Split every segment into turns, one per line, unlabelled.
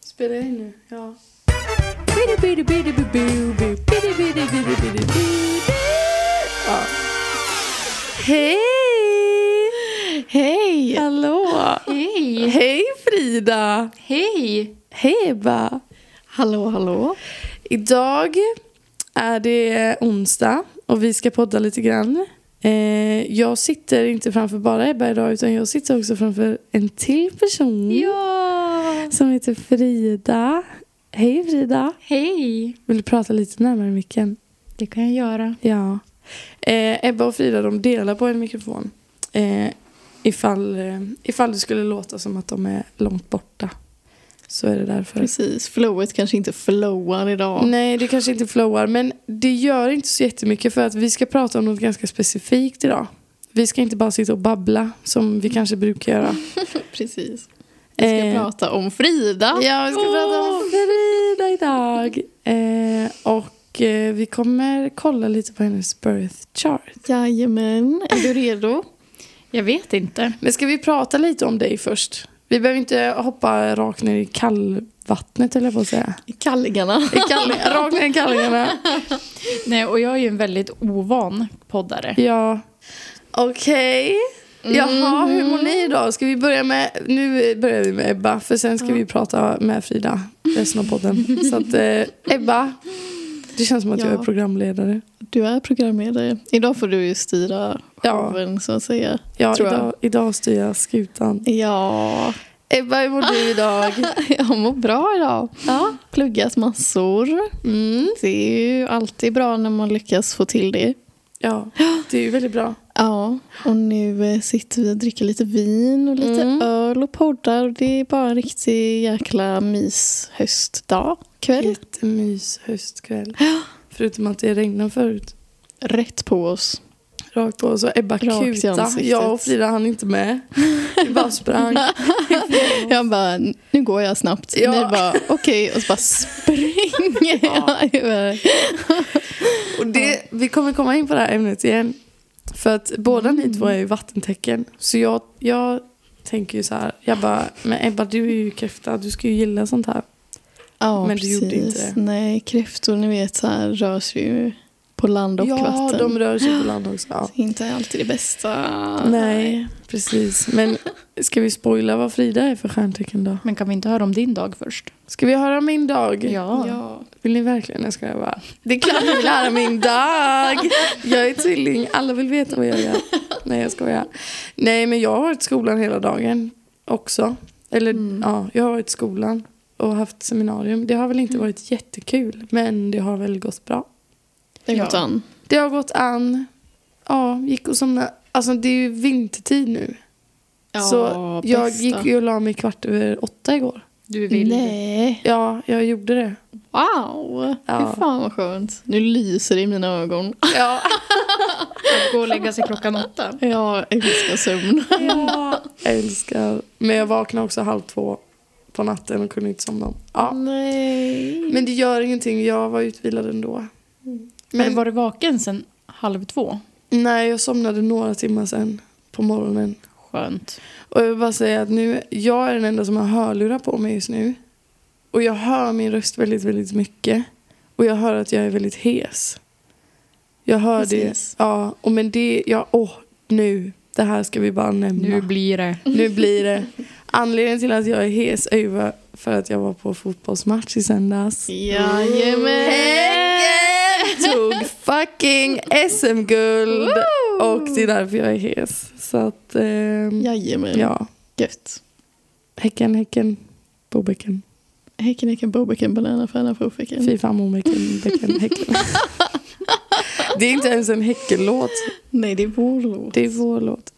Spela in nu, ja. Ja. Hej!
Hej!
Hallå!
Hej!
Hej Frida!
Hej!
Hej Ebba!
Hallå, hallå.
Idag är det onsdag och vi ska podda lite grann. Eh, jag sitter inte framför bara Ebba idag utan jag sitter också framför en till person
Ja!
som heter Frida. Hej Frida!
Hej!
Vill du prata lite närmare micken?
Det kan jag göra.
Ja. Eh, Ebba och Frida de delar på en mikrofon. Eh, ifall, eh, ifall det skulle låta som att de är långt borta. Så är det därför.
Precis, flowet kanske inte flowar idag.
Nej, det kanske inte flowar. Men det gör inte så jättemycket för att vi ska prata om något ganska specifikt idag. Vi ska inte bara sitta och babbla som vi kanske brukar göra.
Precis. Vi ska
Eh,
prata om Frida.
Ja, vi ska prata om Frida idag. Eh, och eh, vi kommer kolla lite på hennes birth chart.
Jajamän, är du redo? Jag vet inte.
Men ska vi prata lite om dig först? Vi behöver inte hoppa rakt ner i kallvattnet eller på att säga.
Kallingarna.
I kall- rakt ner i kallingarna.
Nej, och jag är ju en väldigt ovan poddare.
Ja. Okej. Jaha, hur mår ni idag? Ska vi börja med... Nu börjar vi med Ebba, för sen ska vi prata med Frida resten av podden. Så att eh, Ebba, det känns som att jag
Ja.
är programledare.
Du är programledare. Idag får du ju styra
Ja.
showen så att säga.
Ja,
Tror jag.
idag, idag styr jag skutan.
Ja,
Ebba, hur mår du idag?
jag mår bra idag.
Ja.
Pluggat massor.
Mm.
Det är ju alltid bra när man lyckas få till det.
Ja, det är ju väldigt bra.
Ja, och nu eh, sitter vi och dricker lite vin och lite
Mm.
öl och poddar. Och det är bara en riktig jäkla myshöstdag, kväll.
Jättemys höstkväll. Förutom att det regnade förut.
Rätt på oss.
Rakt på så Ebba
Rakt i
kuta.
ansiktet.
Jag och Frida hann inte med. Vi bara sprang.
Jag bara, nu går jag snabbt.
Ja.
Ja. Ni bara, okej, och så bara springer jag iväg.
Och det, vi kommer komma in på det här ämnet igen. För att båda ni
Mm.
två är ju vattentecken. Så jag, jag tänker ju så här. Jag bara, men Ebba du är ju kräfta. Du ska ju gilla sånt här.
Ja,
Men du
precis.
gjorde inte det.
Nej, kräftor ni vet så här rör sig ju på land och
ja,
vatten.
de rör sig på land också. Ja.
Så Inte alltid det bästa.
Nej, precis. Men ska vi spoila vad Frida är för stjärntecken då?
Men kan vi inte höra om din dag först?
Ska vi höra om min dag?
Ja.
Ja.
Vill ni verkligen? Jag skojar bara. Det är klart ni vill höra min dag. Jag är tvilling. Alla vill veta vad jag gör. Nej, jag skojar. Nej, men jag har varit i skolan hela dagen också. Eller
Mm.
ja, jag har varit i skolan och haft seminarium. Det har väl
Mm.
inte varit jättekul, men det har väl gått bra.
Det är
Ja.
gott an.
Det har gått an. Ja, gick och somnade. Alltså det är ju vintertid nu. så jag
bästa.
gick ju och la mig kvart över åtta igår.
Du vill.
Nej.
Ja, jag gjorde det.
Wow!
Ja.
Fy fan vad skönt. Nu lyser det i mina ögon.
Ja.
gå och lägga sig klockan åtta.
Jag älskar sömn.
Ja, älskar. Men jag vaknade också halv två på natten och kunde inte somna om. Ja.
Nej.
Men det gör ingenting, jag var utvilad ändå.
Men
Men
var du vaken sen halv två?
nej, jag somnade några timmar sen på morgonen.
Skönt.
Och jag vill bara säga att nu, jag är den enda som har hörlurar på mig just nu. Och jag hör min röst väldigt, väldigt mycket. Och jag hör att jag är väldigt hes. Jag hör
Precis.
det. Ja, och men det, ja, åh, nu. Det här ska vi bara nämna.
Nu blir det.
Nu blir det. Anledningen till att jag är hes är ju va- för att jag var på fotbollsmatch i söndags.
Jajamän!
Häcken tog fucking SM-guld! Och det är därför jag är hes. Så att, ehm,
Jajamän.
ja.
Gött.
Häcken, Häcken, Bobäcken.
Häcken, häcken, bobäcken, banana, fana, fofäcken.
Fy fan, Mobäcken, Bäcken, Häcken. Det är inte ens en Häckenlåt,
Nej, det är vår låt.
det är vår låt.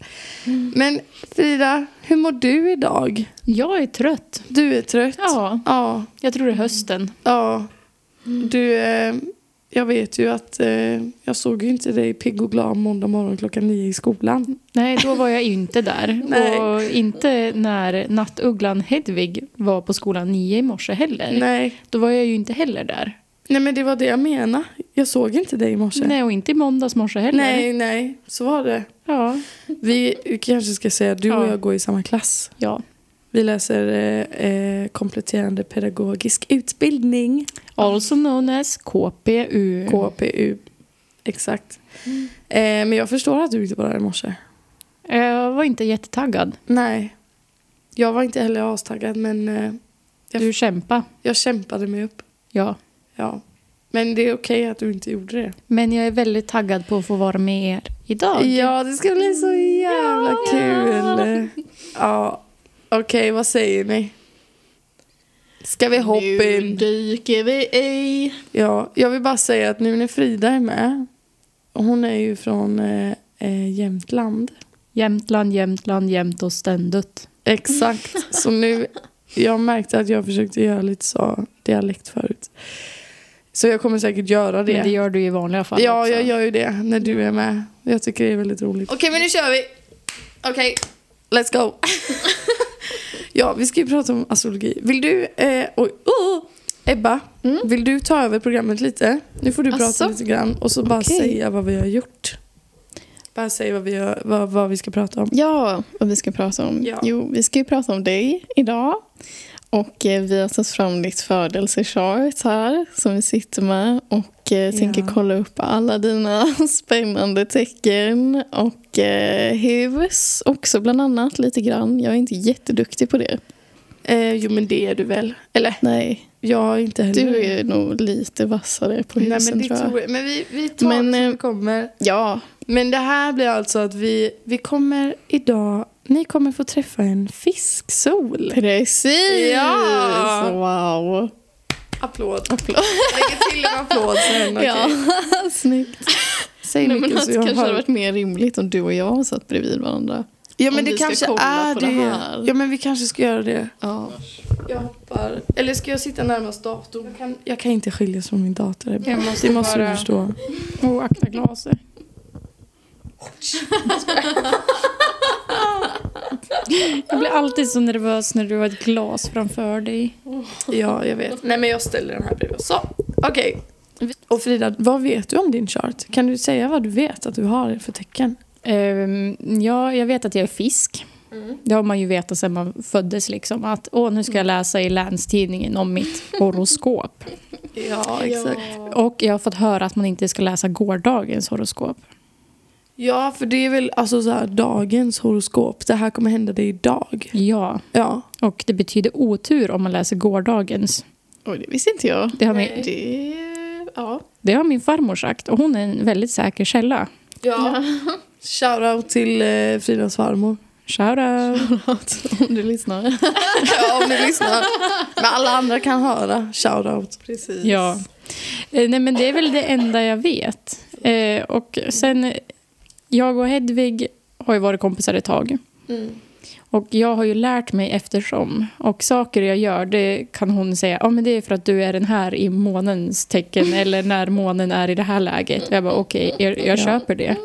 Men Frida, hur mår du idag?
Jag är trött.
Du är trött.
Ja,
ja.
jag tror det är hösten.
Ja. Du, eh, jag vet ju att eh, jag såg ju inte dig pigg och glad måndag morgon klockan nio i skolan.
Nej, då var jag ju inte där.
Nej.
Och inte när nattugglan Hedvig var på skolan nio i morse heller.
Nej.
Då var jag ju inte heller där.
Nej, men det var det jag menade. Jag såg inte dig i morse.
Nej, och inte i måndags morse heller.
nej, nej, så var det.
Ja.
Vi kanske ska säga att du och
Ja.
jag går i samma klass.
ja.
Vi läser eh, eh, kompletterande pedagogisk utbildning.
Also known as KPU.
KPU. Exakt. Eh, men jag förstår att du inte var där i morse.
Jag var inte jättetaggad.
Nej. Jag var inte heller astaggad men eh, Jag-
Du kämpa.
jag kämpade mig upp.
Ja.
Ja. Men det är okej att du inte gjorde det.
Men jag är väldigt taggad på att få vara med er idag.
Ja, det ska bli så jävla
Ja.
kul. Ja. Okej, vad säger ni? Ska vi hoppa
Nu
in?
dyker vi i.
Ja, jag vill bara säga att nu när Frida är med, och hon är ju från eh, eh, Jämtland.
Jämtland, Jämtland, jämt och ständigt.
Exakt, så nu, jag märkte att jag försökte göra lite så dialekt förut. Så jag kommer säkert göra det.
Men det gör du i vanliga fall
ja,
också.
jag gör ju det när du är med. Jag tycker det är väldigt roligt. Okej, men nu kör vi. Okej, let's go. ja, vi ska ju prata om astrologi. Vill du, eh, oj, oh, Ebba,
Mm.
vill du ta över programmet lite? Nu får du prata
Asså?
lite grann och så bara
Okej.
säga vad vi har gjort. Bara säga vad vi, har, vad, vad vi ska prata om.
Ja, och vi ska prata om...
Ja.
Jo, vi ska ju prata om dig idag. Och eh, vi har tagit fram ditt födelsechart här som vi sitter med och eh,
Ja.
tänker kolla upp alla dina spännande tecken och eh, hus också bland annat lite grann. Jag är inte jätteduktig på det.
Eh, jo, men det är du väl? Eller?
Nej,
Jag är inte heller
du är nog lite vassare på
Nej,
husen
men, det
tror jag.
tror jag. men vi, vi tar
Men,
det som
eh,
det kommer.
Ja,
Men det här blir alltså att vi, vi kommer idag, ni kommer få träffa en fisksol.
precis!
Ja.
Wow!
Applåd.
Applåd.
Lägger till en applåd sen. okej.
Ja, snyggt.
Säg
Nej, men
mycket
att
så
det
jag
kanske hade
hör.
varit mer rimligt om du och jag satt bredvid varandra.
Ja men
om
det
vi ska
kanske
kolla
är
på
det.
det här.
ja men vi kanske ska göra det.
Ja.
Jag hoppar. Eller ska jag sitta närmast datorn? Jag kan, jag kan inte skiljas från min dator. Ebba.
Jag måste
det måste
bara-
du förstå.
Och akta glaset. Jag blir alltid så nervös när du har ett glas framför dig.
Ja jag vet. Nej men jag ställer den här bredvid. Så okej. Och Frida, vad vet du om din chart? Kan du säga vad du vet att du har för tecken?
Ehm, ja, jag vet att jag är fisk. Det har man ju vetat sedan man föddes. Liksom, att åh, nu ska jag läsa i Länstidningen om mitt horoskop.
Ja
Och jag har fått höra att man inte ska läsa gårdagens horoskop.
Ja, för det är väl alltså så här, dagens horoskop. Det här kommer hända dig idag.
Ja,
Ja.
och det betyder otur om man läser gårdagens.
Oj, det visste inte jag.
Det har,
Nej.
min,
Det... Ja.
det har min farmor sagt och hon är en väldigt säker källa.
ja. Shoutout till eh, Fridas farmor.
Shoutout!
Om du lyssnar.
ja, om ni lyssnar. Men alla andra kan höra. Shoutout.
Precis.
Ja. Eh, Nej, men det är väl det enda jag vet. Eh, och sen, eh, jag och Hedvig har ju varit kompisar ett tag.
Mm.
Och jag har ju lärt mig eftersom. Och saker jag gör, det kan hon säga, ja men det är för att du är den här i månens tecken eller när månen är i det här läget. Och jag bara okej, jag, jag
Ja.
köper det.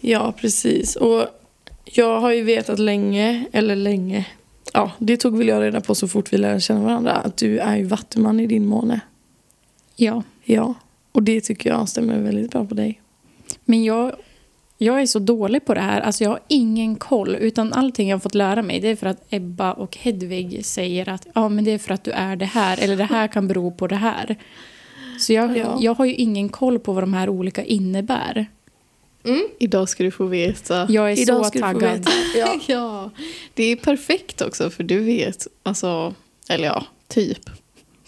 Ja, precis. Och jag har ju vetat länge, eller länge. Ja, det tog väl jag reda på så fort vi lärde känna varandra. Att du är ju vattuman i din måne.
Ja.
Ja. Och det tycker jag stämmer väldigt bra på dig.
Men jag, jag är så dålig på det här, alltså jag har ingen koll. Utan allting jag har fått lära mig, det är för att Ebba och Hedvig säger att ja men det är för att du är det här, eller det här kan bero på det här. Så jag,
Ja.
jag har ju ingen koll på vad de här olika innebär.
Idag ska du få veta.
Jag är så
ska du få
taggad.
veta. Ja.
Ja. Det är perfekt också för du vet, alltså, eller ja, typ.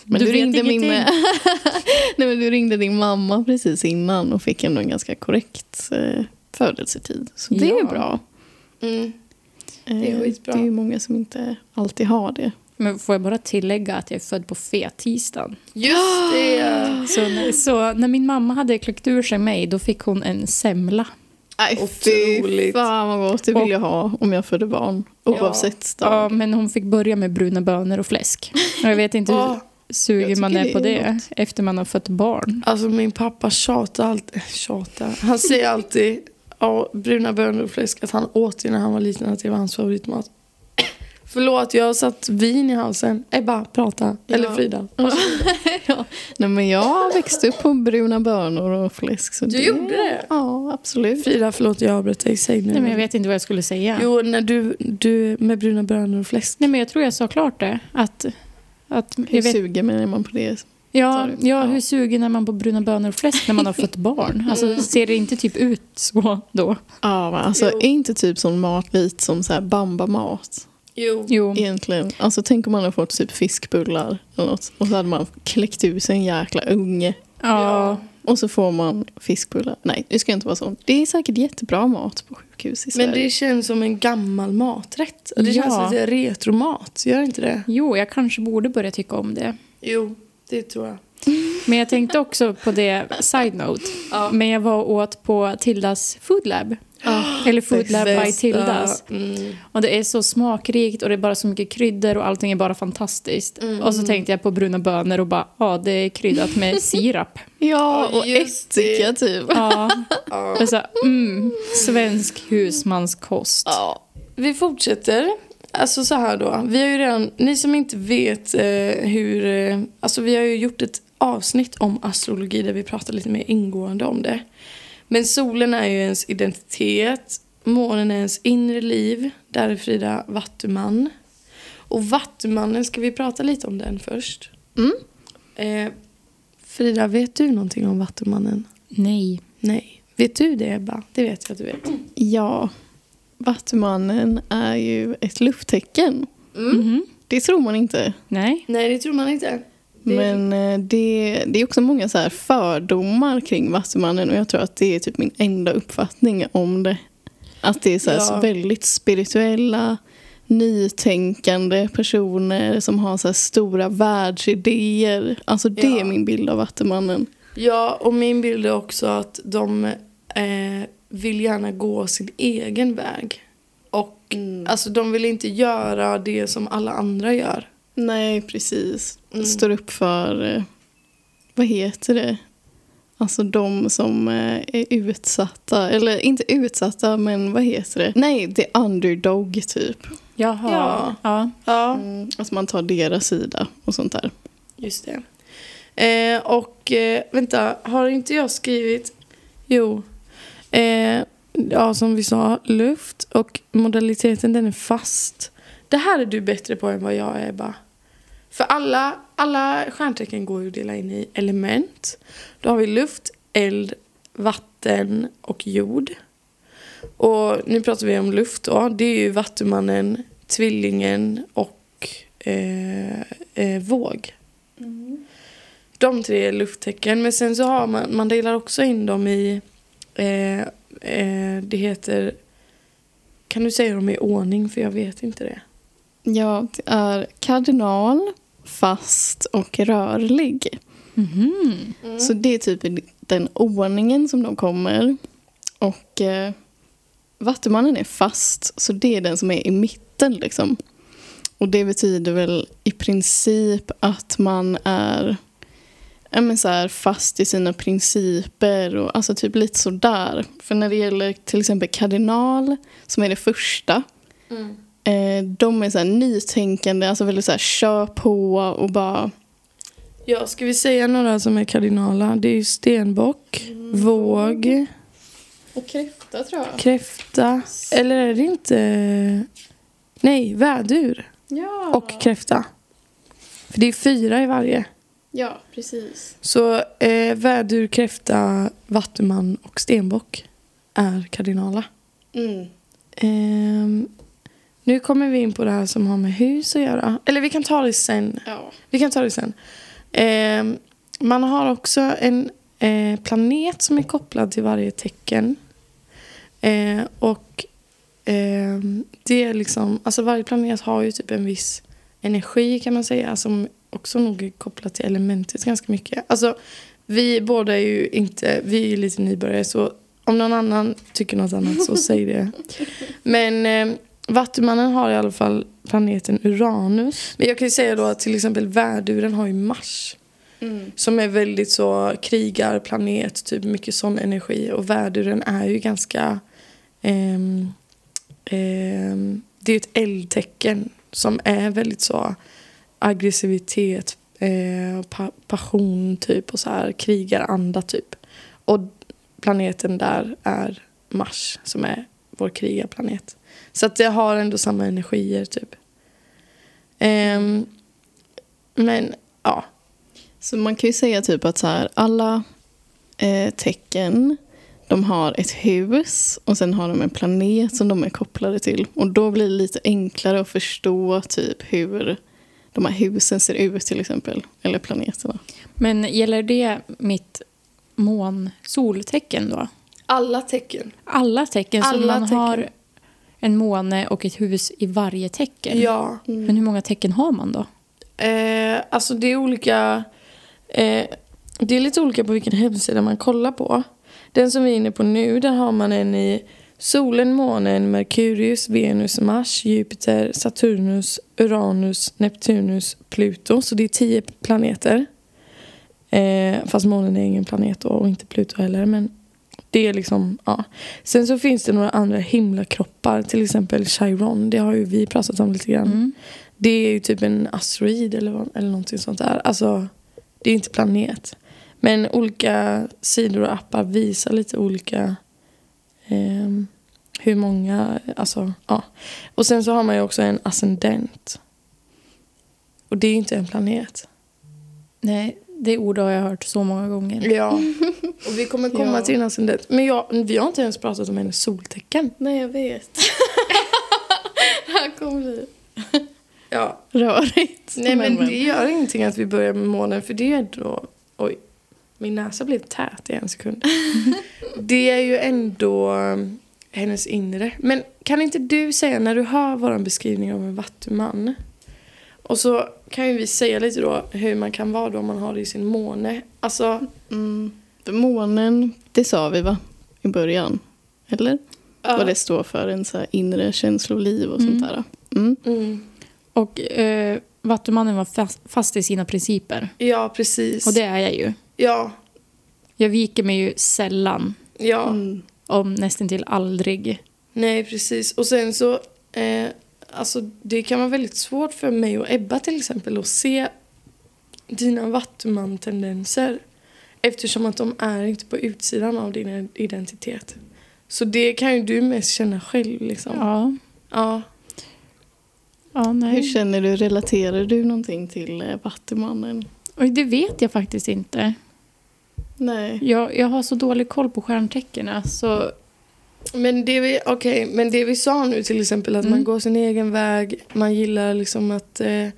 Men
Du
du,
vet
ringde min,
ingenting.
Nej, men du ringde din mamma precis innan och fick ändå en ganska korrekt eh, födelsetid. Så det är
Ja.
bra.
Mm.
Eh,
Det är skitbra.
Det är ju många som inte alltid har det.
Men får jag bara tillägga att jag är född på fettisdagen.
Just det!
Så, när- så när min mamma hade kläckt ur sig mig, då fick hon en semla.
Nej,
Otroligt.
fy fan vad gott. Det vill
Och-
jag ha om jag födde barn. Oavsett
Ja,
stad.
men hon fick börja med bruna bönor och fläsk. Och jag vet inte
Åh,
hur
jag
sugen man
tycker
är
det
på
är
det
gott.
efter man har fött barn.
Alltså min pappa tjatar alltid. Tjatar. Han säger alltid ja, bruna bönor och fläsk att han åt det när han var liten. Att det var hans favoritmat. Förlåt, jag har satt vin i halsen. Ebba, prata.
Ja.
Eller Frida.
ja. Nej, men jag växte upp på bruna bönor och fläsk. Så det...
det?
Ja, absolut.
Frida, förlåt jag avbröt dig. Säg nu.
Nej, men jag vet inte vad jag skulle säga.
Jo, när du, du med bruna bönor och fläsk.
Nej, men jag tror jag sa klart det. Att, att,
Hur
jag vet,
suger man är man på det?
ja,
sa du?
ja,
Ja.
hur sugen är man på bruna bönor och fläsk när man har fått barn? Alltså, ser det inte typ ut så då?
Ja, va? alltså
Jo.
är inte typ som mat lite som så här bambamat
Jo.
Jo.
egentligen? Alltså tänk om man hade fått typ fiskbullar eller något och så hade man kläckt ur sig en jäkla unge
Ja.
och så får man fiskbullar. Nej, det ska inte vara så. Det är säkert jättebra mat på sjukhus i Sverige.
Men det känns som en gammal maträtt. Det
Ja.
känns lite retromat. Gör inte det?
Jo, jag kanske borde börja tycka om det.
Jo, det tror jag.
Men jag tänkte också på det, side note. Men jag var och åt på Tildas Food Lab. Eller Food Lab by Tildas.
Mm.
Och det är så smakrikt och det är bara så mycket kryddor och allting är bara fantastiskt. Och så tänkte jag på bruna bönor och bara, ja det är kryddat med sirap.
Ja,
Ja,
och
just det.
ättika typ.
ja. Och så, mm, svensk husmanskost.
Ja. Vi fortsätter. Alltså så här då. Vi har ju redan, ni som inte vet eh, hur, eh, alltså vi har ju gjort ett avsnitt om astrologi där vi pratar lite mer ingående om det. Men solen är ju ens identitet, månen är ens inre liv, där är Frida Vattuman. Och Vattumannen, ska vi prata lite om den först?
Mm.
Eh, Frida, vet du någonting om Vattumannen?
Nej.
Nej. Vet du det Ebba? Det vet jag att du vet.
Ja, Vattumannen är ju ett lufttecken.
Mm.
Mhm.
Det tror man inte.
Nej.
Nej, det tror man inte. Det-
Men eh, det, det är också många så här fördomar kring Vattumannen och jag tror att det är typ min enda uppfattning om det. Att det är så här
Ja.
väldigt spirituella, nytänkande personer som har så här stora världsidéer. Alltså det
Ja.
är min bild av Vattumannen.
Ja, och min bild är också att de eh, vill gärna gå sin egen väg. Och alltså de vill inte göra det som alla andra gör.
Nej, precis.
Mm.
Står upp för, eh, vad heter det? Alltså de som eh, är utsatta, eller inte utsatta, men vad heter det? Nej, the underdog typ.
Jaha.
Ja.
Ja. ja.
Ja,
Mm. Alltså man tar deras sida och sånt där.
just det. Eh, och eh, vänta, har inte jag skrivit? Jo. Eh, ja, som vi sa, luft och modaliteten den är fast. Det här är du bättre på än vad jag är, Ebba. För alla, alla stjärntecken går ju att dela in i element. Då har vi luft, eld, vatten och jord. Och nu pratar vi om luft då. Det är ju Vattumannen, Tvillingen och eh, eh, Våg. De tre är lufttecken. Men sen så har man, man delar också in dem i, eh, eh, det heter, kan du säga dem i ordning för jag vet inte det.
Ja, det är kardinal, fast och rörlig.
Mhm.
Så det är typ i den ordningen som de kommer. Och eh, Vattumannen är fast, så det är den som är i mitten. Liksom. Och det betyder väl i princip att man är ja, men så här, fast i sina principer. Och, alltså typ lite sådär. För när det gäller till exempel kardinal, som är det första, eh, de är så här nytänkande, alltså väldigt så här kör på och bara
Ja, ska vi säga några som är kardinala? Det är ju stenbock,
Mm.
våg,
och kräfta tror jag.
kräfta. Eller är det inte... Nej, vädur
Ja.
och kräfta. För det är fyra i varje.
Ja, precis.
Så eh, vädur, kräfta, vattuman och stenbock är kardinala.
Mm.
Ehm, nu kommer vi in på det här som har med hus att göra. Eller vi kan ta det sen.
Ja.
Vi kan ta det sen. Ehm, man har också en eh, planet som är kopplad till varje tecken. Eh, och ehm, det är liksom, alltså varje planet har ju typ en viss energi kan man säga som också nog är kopplat till elementet ganska mycket. Alltså vi båda är ju inte, vi är ju lite nybörjare så om någon annan tycker något annat så säg det. Men eh, Vattumannen har i alla fall planeten Uranus. Men jag kan ju säga då att till exempel värduren har ju Mars.
Mm.
Som är väldigt så krigarplanet, typ mycket sån energi. Och värduren är ju ganska... ehm, ehm, det är ju ett eldtecken. som är väldigt så aggressivitet, eh, pa- passion typ och så här krigaranda typ. Och planeten där är Mars som är vår krigarplanet. Så att det har ändå samma energier typ. Ehm, men ja.
Så man kan ju säga typ att så här, alla eh, tecken, de har ett hus och sen har de en planet som de är kopplade till. Och då blir det lite enklare att förstå typ hur de här husen ser ut till exempel, eller planeterna.
Men gäller det mitt månsoltecken då?
Alla tecken.
Alla tecken? så
Alla
man
tecken.
har en måne och ett hus i varje tecken?
Ja.
Mm.
Men hur många tecken har man då?
Eh, alltså det är olika... Eh, det är lite olika på vilken hemsida man kollar på. Den som vi är inne på nu, där har man en i solen, månen, Merkurius, Venus, Mars, Jupiter, Saturnus, Uranus, Neptunus, Pluto. Så det är tio planeter. Eh, fast månen är ingen planet då, och inte Pluto heller. Men det är liksom, ja. Sen så finns det några andra himlakroppar, till exempel Chiron. Det har ju vi pratat om lite grann.
Mm.
Det är ju typ en asteroid eller, vad- eller någonting sånt där. Alltså, det är inte planet. Men olika sidor och appar visar lite olika ehm, hur många, alltså ja. Och sen så har man ju också en ascendent. Och det är ju inte en planet.
Nej, det ordet har jag hört så många gånger.
Ja. Och vi kommer komma
Ja.
till en ascendent. Men jag, vi har inte ens pratat om hennes soltecken.
Nej, jag vet. det här kommer bli
Ja.
rörigt.
Nej men det gör ingenting att vi börjar med månen för det är då... Oj, min näsa blev tät i en sekund. det är ju ändå um, hennes inre. Men kan inte du säga när du hör vår beskrivning av en vattuman och så kan ju vi säga lite då hur man kan vara då om man har det i sin måne. Alltså,
Mm. För Månen, det sa vi va? I början. Eller? Vad det står för, en så här inre känsloliv och sånt där. Mm.
mm,
Och eh, Vattumannen var fast, fast i sina principer.
ja, precis.
Och det är jag ju.
Ja,
Jag viker mig ju sällan,
ja.
Mm.
om nästan till aldrig.
Nej, precis. Och sen så... Eh, alltså, det kan vara väldigt svårt för mig och Ebba till exempel att se dina Vattuman-tendenser eftersom att de är inte på utsidan av din identitet. Så det kan ju du mest känna själv. Liksom. Ja.
Ja. ja
Hur
nej.
känner du, relaterar du någonting till eh, Vattumannen?
Oj, det vet jag faktiskt inte.
Nej.
Jag, jag har så dålig koll på stjärntecknen. alltså, Så
Men, det vi, okej, men det vi sa nu till exempel att
Mm.
man går sin egen väg, man gillar liksom att eh,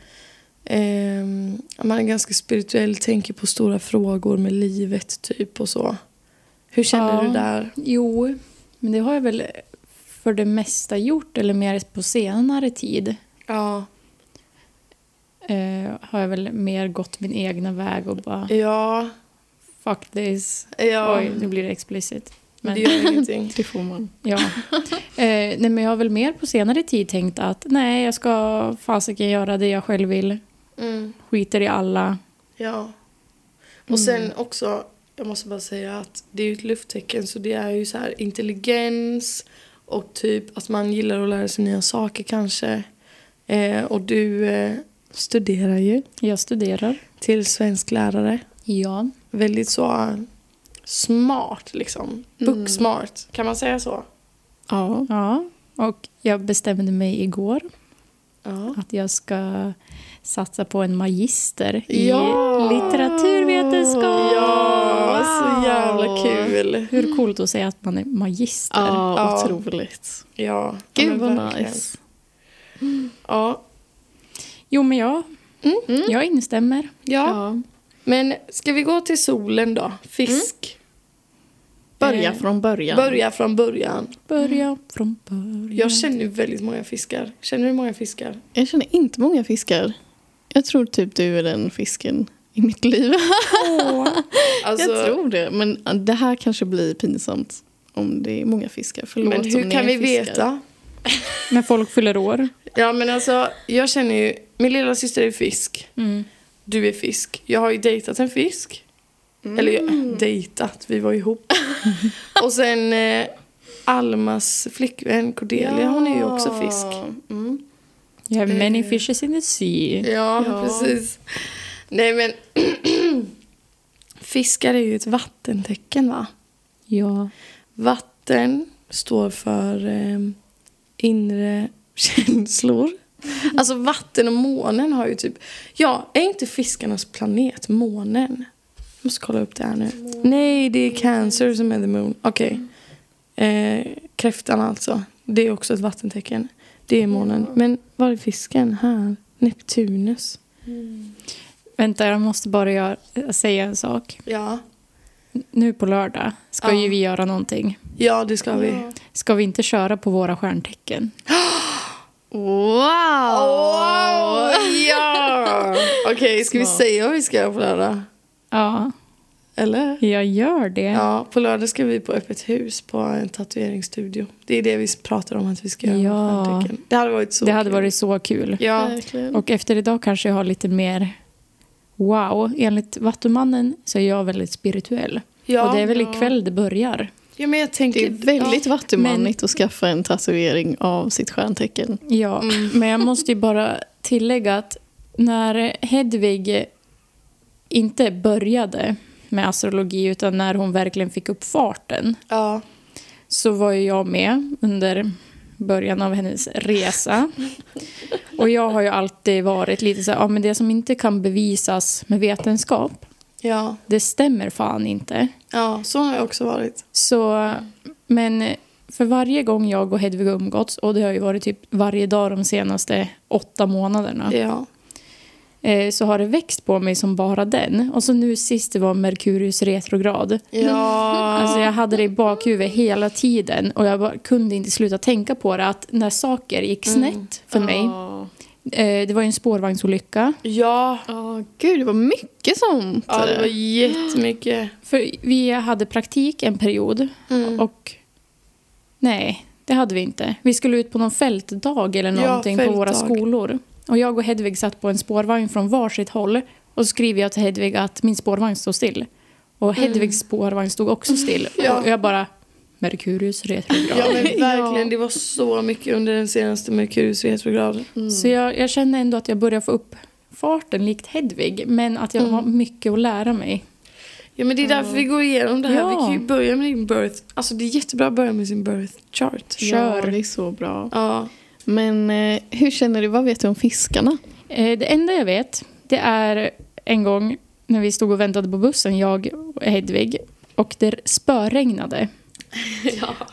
ehm, man är ganska spirituell, tänker på stora frågor med livet typ och så. Hur känner
Ja.
du där?
Jo, men det har jag väl för det mesta gjort, eller mer på senare tid.
Ja,
Eh, har jag väl mer gått min egna väg och bara
ja,
fuck this.
ja.
Oj, nu blir det explicit.
men...
Men,
Det gör ingenting.
Det får man.
ja. eh, nej, men jag har väl mer på senare tid tänkt att nej, jag ska fasiken göra det jag själv vill.
Mm,
Skiter i alla.
ja. Och sen
Mm.
också, jag måste bara säga att det är ju ett lufttecken så det är ju så här intelligens och typ att man gillar att lära sig nya saker kanske. Eh, och du eh, studerar ju
Jag studerar.
till svensk lärare.
Ja.
Väldigt så eh, smart liksom.
Mm.
Booksmart, kan man säga så?
Ja.
ja. Och jag bestämde mig igår
Ja.
att jag ska satsa på en magister i
Ja!
litteraturvetenskap. Alltså,
Ja, så
Wow.
jävla kul.
Hur coolt att säga att man är magister.
Ja,
Ja.
otroligt.
Ja. ja,
Gud
men
vad
verkligen.
nice.
Ja.
Jo, men jag, jag instämmer.
Ja.
Ja.
men ska vi gå till solen då?
Mm.
Fisk.
Börja
Eh,
från början.
Börja från början.
Börja från början.
Mm.
Jag känner ju väldigt många fiskar. Känner du många fiskar?
Jag känner inte många fiskar. Jag tror typ du är den fisken i mitt liv.
Alltså,
jag tror det. Men äh, det här kanske blir pinsamt om det är många fiskar. Förlåt
Men
om
hur
ni
kan
är
vi
fiskar.
veta?
När folk fyller år.
Ja men alltså, jag känner ju, min lilla syster är fisk.
Mm.
Du är fisk. Jag har ju dejtat en fisk.
Mm.
Eller jag- dejtat, vi var ihop. Och sen eh, Almas flickvän Cordelia, hon är ju också fisk.
Mm.
You have many fishes in the sea.
Ja,
Ja.
precis. Nej, men... Fiskar är ju ett vattentecken, va?
Ja.
Vatten står för eh, inre känslor. Alltså vatten och månen har ju typ... Ja, är inte fiskarnas planet månen? Jag måste kolla upp det här nu. Nej, det är cancer som är the moon. Okej. Eh, kräftan alltså. Det är också ett vattentecken. Det är månen. Men var är fisken? Här. Neptunus.
Vänta, jag måste bara göra, säga en sak.
Ja.
Nu på lördag ska
Ja.
ju vi göra någonting.
Ja, det ska vi.
Ska vi inte köra på våra stjärntecken?
Wow! Ja! Okej, ska vi
Smart.
säga vad vi ska göra på lördag?
Ja,
Eller?
jag gör det.
Ja, på lördag ska vi på öppet hus på en tatueringsstudio. Det är det vi pratar om att vi ska göra. med
Ja.
stjärntecken. Det hade varit så
det hade
kul.
varit så kul.
Ja,
Verkligen.
Och efter idag kanske jag har lite mer wow. Enligt Vattumannen så är jag väldigt spirituell.
ja.
och det är väl
ja.
ikväll det börjar.
ja, men jag
Det
tänker...
är väldigt vattumannigt
men-
att skaffa en tatuering av sitt stjärntecken.
Ja,
Mm.
men jag måste ju bara tillägga att när Hedvig inte började med astrologi utan när hon verkligen fick upp farten
Ja.
så var ju jag med under början av hennes resa. Och jag har ju alltid varit lite så här, ja men det som inte kan bevisas med vetenskap,
Ja.
det stämmer fan inte.
ja, så har jag också varit.
Så, men för varje gång jag och Hedvig har umgåtts, och det har ju varit typ varje dag de senaste åtta månaderna,
Ja.
eh, så har det växt på mig som bara den. Och så nu sist det var Merkurius retrograd.
Ja.
Alltså jag hade det i bakhuvudet hela tiden och jag bara kunde inte sluta tänka på det att när saker gick
Mm.
snett för mig,
Ja,
eh, det var ju en spårvagnsolycka.
Ja.
Ja, gud det var mycket sånt.
Ja, det var jättemycket.
För vi hade praktik en period
Mm.
och nej, det hade vi inte. Vi skulle ut på någon fältdag eller
Ja,
någonting på våra
fältdag.
skolor. Och jag och Hedvig satt på en spårvagn från varsitt håll och så skriver jag till Hedvig att min spårvagn står still. Och Hedvigs spårvagn stod också still.
Mm. Ja.
Och jag bara, Merkurius retrograd.
Ja, men
Ja.
verkligen. Det var så mycket under den senaste Merkurius retrograd.
Mm.
Så jag, jag känner ändå att jag börjar få upp farten likt Hedvig, men att jag har mycket att lära mig.
Ja, men det är därför vi går igenom det här.
Ja.
Vi kan ju börja med din birth. Alltså, det är jättebra att börja med sin birth chart.
Kör.
Ja, det är så bra.
Ja.
Men eh, hur känner du? Vad vet du om fiskarna?
Eh, Det enda jag vet, det är en gång när vi stod och väntade på bussen, jag och Hedvig, och det spöregnade.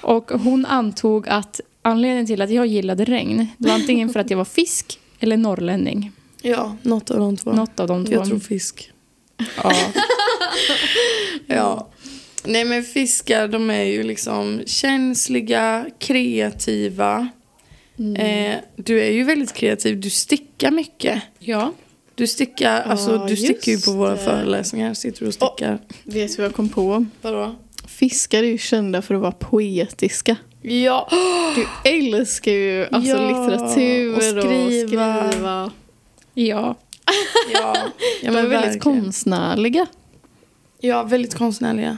Och hon antog att anledningen till att jag gillade regn, det var antingen för att jag var fisk eller norrlänning.
Ja, något av de två.
Något av de två.
Jag tror fisk. Ja. ja. Nej men fiskar de är ju liksom känsliga, kreativa. Eh, du är ju väldigt kreativ, du stickar mycket.
Ja.
Du stickar, alltså du
just
stickar ju på våra
det.
föreläsningar. Sitter du och stickar.
Vet du vad jag kom på?
Vadå?
Fiskar är ju kända för att vara poetiska.
Ja.
Du älskar ju alltså
Ja,
litteratur
och skriva.
Och skriva.
ja.
Ja.
ja
De är
men
väldigt
väldigt konst.
konstnärliga.
Ja, väldigt konstnärliga. Mm.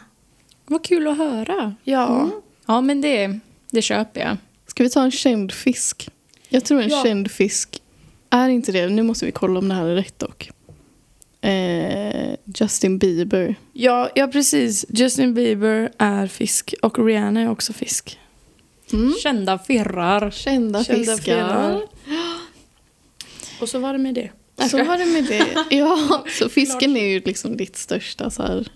Vad kul att höra.
Ja.
Ja, men det, det köper jag.
Ska vi ta en känd fisk? Jag tror en
Ja.
känd fisk är inte det. Nu måste vi kolla om det här är rätt dock. Eh, Justin Bieber.
Ja, ja precis. Justin Bieber är fisk och Rihanna är också fisk.
Mm.
Kända firrar.
Kända,
Kända
fiskar.
fiskar. Och så var det med det.
Så var det med det. Ja, så fisken är ju liksom ditt största så här,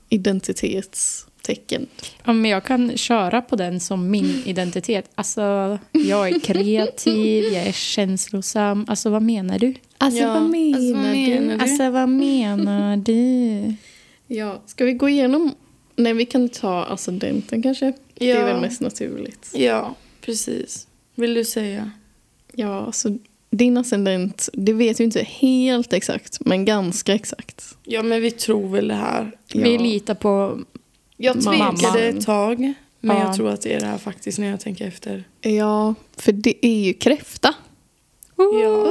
identitetstecken.
Ja, men jag kan köra på den som min identitet. Alltså, jag är kreativ, jag är känslosam. Alltså, vad menar du?
Alltså
Ja,
vad menar
alltså, vad menar
du?
du?
Alltså, vad menar du?
Ja, ska vi gå igenom? Nej, vi kan ta ascendenten kanske. Det är
Ja.
väl mest naturligt.
Ja, precis. Vill du säga?
Ja, alltså din ascendent, det vet vi inte helt exakt, men ganska exakt.
Ja, men vi tror väl det här.
Ja.
Vi litar på...
Jag
Mamma.
tvekade ett tag, men
Ja.
jag tror att det är det här faktiskt när jag tänker efter.
Ja, för det är ju kräfta.
Ja.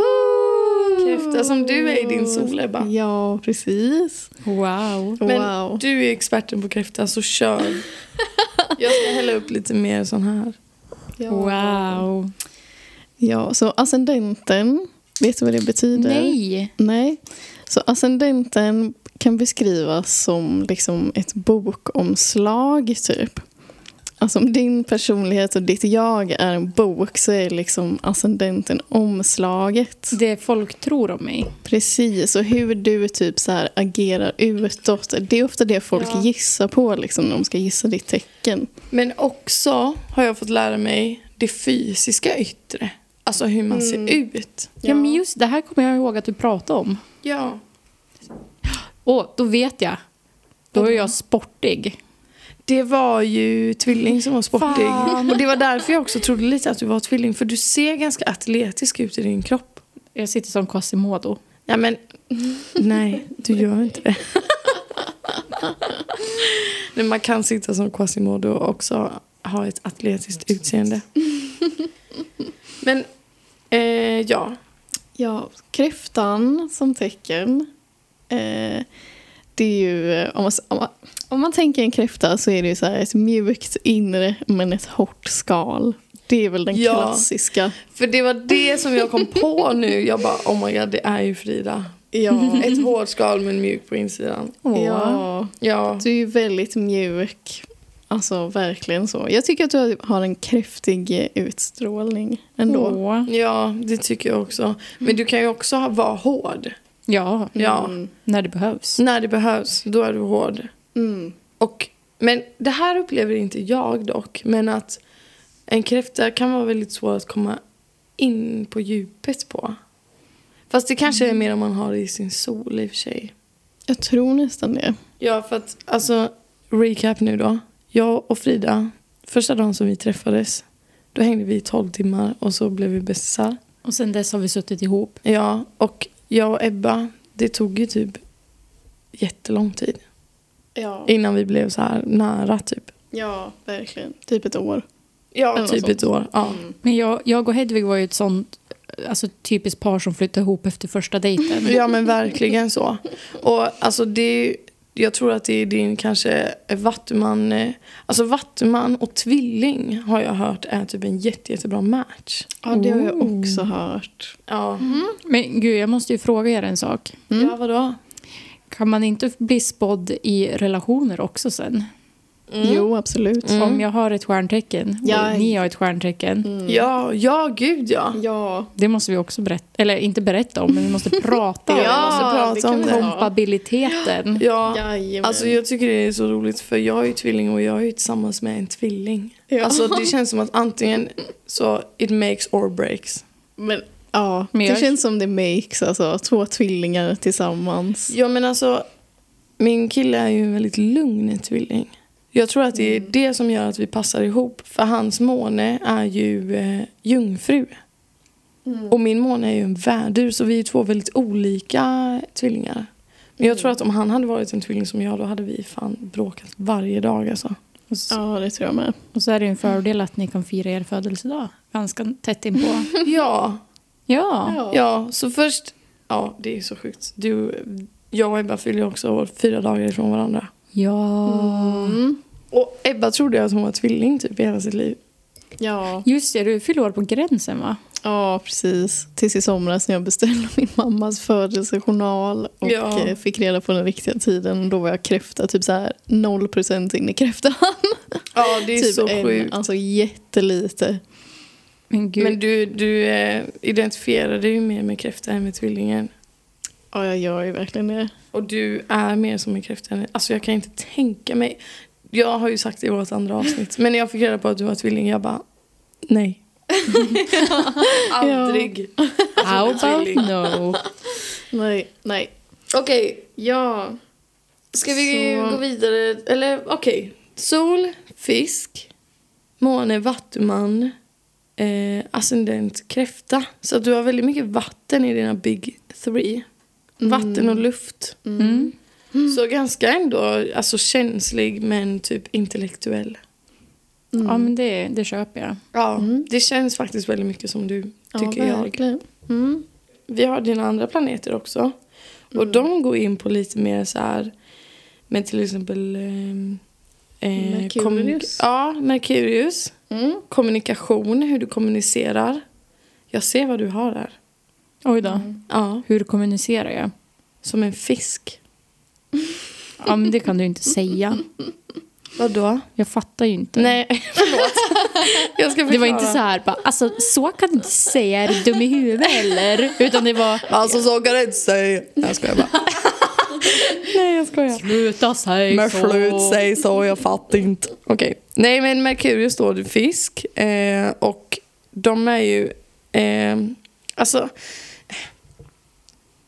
Kräfta som du är i din sol, Ebba.
Ja, precis.
Wow.
Men
wow.
du är experten på kräfta, så kör. jag ska hälla upp lite mer sån här.
Ja.
Wow.
Ja, så ascendenten Vet du vad det betyder?
Nej.
Nej. Så ascendenten kan beskrivas som liksom ett bokomslag, typ. Alltså om din personlighet och ditt jag är en bok så är liksom ascendenten omslaget.
Det folk tror om mig.
Precis, och hur du typ så här agerar utåt. Det är ofta det folk
Ja.
gissar på liksom, när de ska gissa ditt tecken.
Men också har jag fått lära mig det fysiska yttre. Alltså hur man ser ut.
Ja. men just det här kommer jag ihåg att du pratade om.
Ja.
Åh, då vet jag. Då är jag sportig.
Det var ju tvilling som var sportig.
Fan.
Och det var därför jag också trodde lite att du var tvilling. För du ser ganska atletisk ut i din kropp.
Jag sitter som Quasimodo.
Ja men, nej du gör inte det. Nej, man kan sitta som Quasimodo och också ha ett atletiskt utseende. Men, eh, ja.
Ja, kräftan som tecken. Eh, det är ju, eh, om man, s- om, man, om man tänker en kräfta så är det ju så här ett mjukt inre men ett hårt skal. Det är väl den
Ja.
klassiska.
För det var det som jag kom på nu. Jag bara, oh my god, det är ju Frida.
Ja.
Ett hårt skal men mjuk på insidan.
ja.
Ja.
Du är ju väldigt mjuk. Alltså verkligen så. Jag tycker att du har en kräftig eh, utstrålning ändå.
Åh.
Ja, det tycker jag också. Men du kan ju också ha- vara hård.
Ja,
Ja.
Mm.
när det behövs.
När det behövs, då är du hård.
Mm.
Och, men det här upplever inte jag dock. Men att en kräfta kan vara väldigt svår att komma in på djupet på. Fast det kanske är mer om man har det i sin sol i och för sig.
Jag tror nästan det.
Ja, för att alltså, recap nu då. Jag och Frida, första dagen som vi träffades, då hängde vi i 12 timmar och så blev vi bästisar.
Och sen dess har vi suttit ihop.
Ja, och jag och Ebba, det tog ju typ jättelång tid
Ja,
innan vi blev så här nära typ.
ja verkligen. Typ ett år. Mm.
Ja,
Eller
typ
något
ett år. Ja.
Men jag, jag och Hedvig var ju ett sånt alltså, typiskt par som flyttade ihop efter första dejten.
ja, men verkligen så. Och alltså det är ju- jag tror att det är din kanske Vattuman, eh, alltså Vattuman och tvilling har jag hört är typ en jätte, jättebra match.
Ja, det har jag också hört.
Ja,
Men gud, jag måste ju fråga er en sak.
Mm.
ja vadå?
Kan man inte bli spådd i relationer också sen?
Jo, absolut.
Mm.
Om jag har ett stjärntecken och
Ja.
ni har ett stjärntecken.
Ja, ja gud ja.
Mm. Ja.
Det måste vi också berätta, eller inte berätta om, men vi måste prata om.
Ja, måste
alltså,
prata om det.
Kompabiliteten.
Ja.
Jajamän.
Alltså jag tycker det är så roligt för jag är ju tvilling och jag är ju tillsammans med en tvilling.
Ja.
Alltså det känns som att antingen så it makes or breaks.
men, ja,
Men
det
jag-
känns som det makes, alltså. Två tvillingar tillsammans.
Ja men alltså min kille är ju en väldigt lugn tvilling. Jag tror att det är det som gör att vi passar ihop. För hans måne är ju eh, jungfru. Och min måne är ju en värdur så vi är två väldigt olika tvillingar. Men jag tror att om han hade varit en tvilling som jag då hade vi fan bråkat varje dag alltså.
Och, så,
Ja, det tror jag med.
och så är det ju en fördel att ni kan fira er födelsedag ganska tätt inpå.
Ja,
Ja.
Ja.
ja, så först... Ja, det är så sjukt. Du, jag och Ebba fyller också år fyra dagar ifrån varandra.
Ja.
Mm.
Och Ebba trodde att hon var tvilling typ i hela sitt liv.
Ja.
Just det, du fyller år på gränsen va?
ja, precis. Tills i somras när jag beställde min mammas födelsejournal och
Ja.
eh, fick reda på den riktiga tiden. Då var jag kräfta, typ så här 0% in i kräftan.
Ja, det är
typ
så
en,
sjukt.
Alltså jättelite.
Men gud.
Men du, du eh, identifierade ju mer med kräfta än med tvillingen.
Ja, jag gör ju verkligen det.
Och du är mer som en kräfta än... Alltså jag kan inte tänka mig... Jag har ju sagt det i vårt andra avsnitt. Men när jag fick reda på att du var tvilling, jag bara... Nej. Aldrig.
How about
Alltså, tvilling.
no?
Nej, nej.
Okej,
Ja.
Ska vi
Så-
gå vidare? Eller okej. Sol, fisk, måne, vattuman, eh, ascendent, kräfta. Så att du har väldigt mycket vatten i dina big three.
Mm.
Vatten och luft.
Mm.
Så ganska ändå alltså, känslig men typ intellektuell.
Mm.
Mm. Ja, men det, det köper jag.
Ja, Mm. det känns faktiskt väldigt mycket som du, tycker
ja,
jag.
verkligen. Mm.
Vi har dina andra planeter också. Och de går in på lite mer så här med till exempel ehm, eh, kom-
Merkurius.
ja, Merkurius.
Mm.
Kommunikation, hur du kommunicerar. Jag ser vad du har där.
Oj då.
Ja,
Hur kommunicerar jag?
som en fisk.
Ja, men det kan du inte säga.
Vadå?
Jag fattar ju inte.
Nej, förlåt. Jag ska
Det var inte
förklara.
så här bara, alltså så kan du inte säga, är du dum i huvudet eller? Utan det var,
Alltså så kan det inte säga. Nej, Jag skojar bara. Nej, jag skojar.
sluta säg
Men
så.
slut, säg så, jag fattar inte. Okej. Nej, men Merkurius då, det är fisk. Eh, och de är ju... Eh, alltså...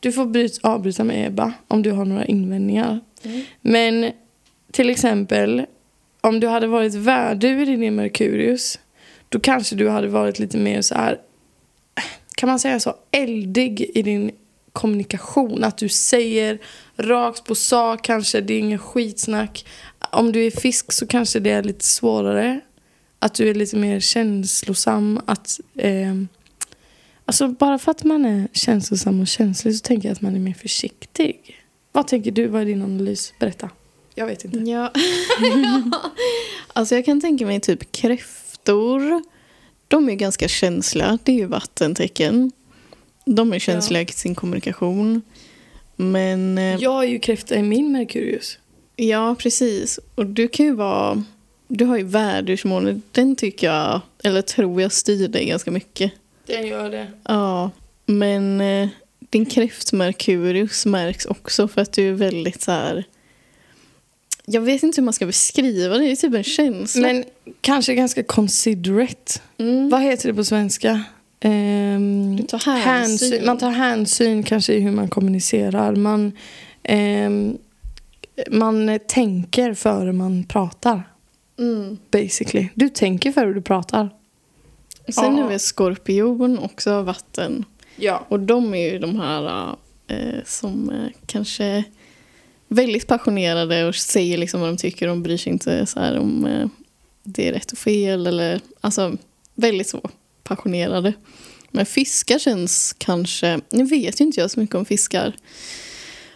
Du får bryt, avbryta med Ebba om du har några invändningar.
Mm.
Men till exempel, om du hade varit värdur i din Merkurius, då kanske du hade varit lite mer så här... Kan man säga så? Eldig i din kommunikation. Att du säger rakt på sak kanske, det är ingen skitsnack. Om du är fisk så kanske det är lite svårare. Att du är lite mer känslosam. Att, ehm, alltså bara för att man är känslosam och känslig så tänker jag att man är mer försiktig. Vad tänker du? Vad är din analys? Berätta. Jag vet inte.
Ja. alltså jag kan tänka mig typ kräftor. De är ganska känsliga. Det är ju vattentecken. De är känsliga i sin kommunikation. Men eh, ja.
Jag är ju kräfta i min Merkurius.
precis. Och du kan ju vara... Du har ju värdursmånen. Den tycker jag, eller tror jag, styr dig ganska mycket.
Den gör det.
Ja, men eh, din kräftmerkurius märks också för att du är väldigt så här... Jag vet inte hur man ska beskriva det. Det är typ en känsla.
Men kanske ganska considerate.
Mm.
Vad heter det på svenska? Ehm,
Du tar hänsyn.
Man tar hänsyn kanske i hur man kommunicerar. Man, ehm, man tänker före man pratar.
Mm.
Basically. Du tänker före du pratar.
Sen
Ja.
är vi skorpion också av vatten.
Ja.
Och de är ju de här eh, som eh, kanske är väldigt passionerade och säger liksom vad de tycker. De bryr sig inte så här om eh, det är rätt och fel. Eller, alltså väldigt så passionerade. Men fiskar känns kanske, nu vet ju inte jag så mycket om fiskar.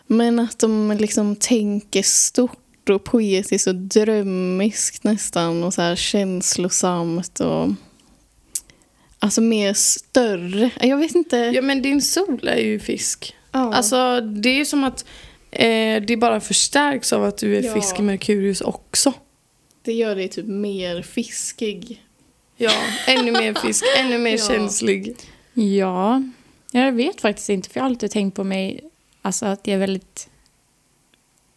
Men att de liksom tänker stort och poetiskt och drömmiskt nästan. Och så här känslosamt och Alltså mer större. Jag vet inte.
ja men din sol är ju fisk.
Ja.
Alltså det är som att eh, det bara förstärks av att du är
Ja.
fisk i Merkurius också.
Det gör dig typ mer fiskig.
Ja, ännu mer fisk, ännu mer
Ja.
känslig.
Ja, jag vet faktiskt inte för jag har alltid tänkt på mig alltså, att jag är väldigt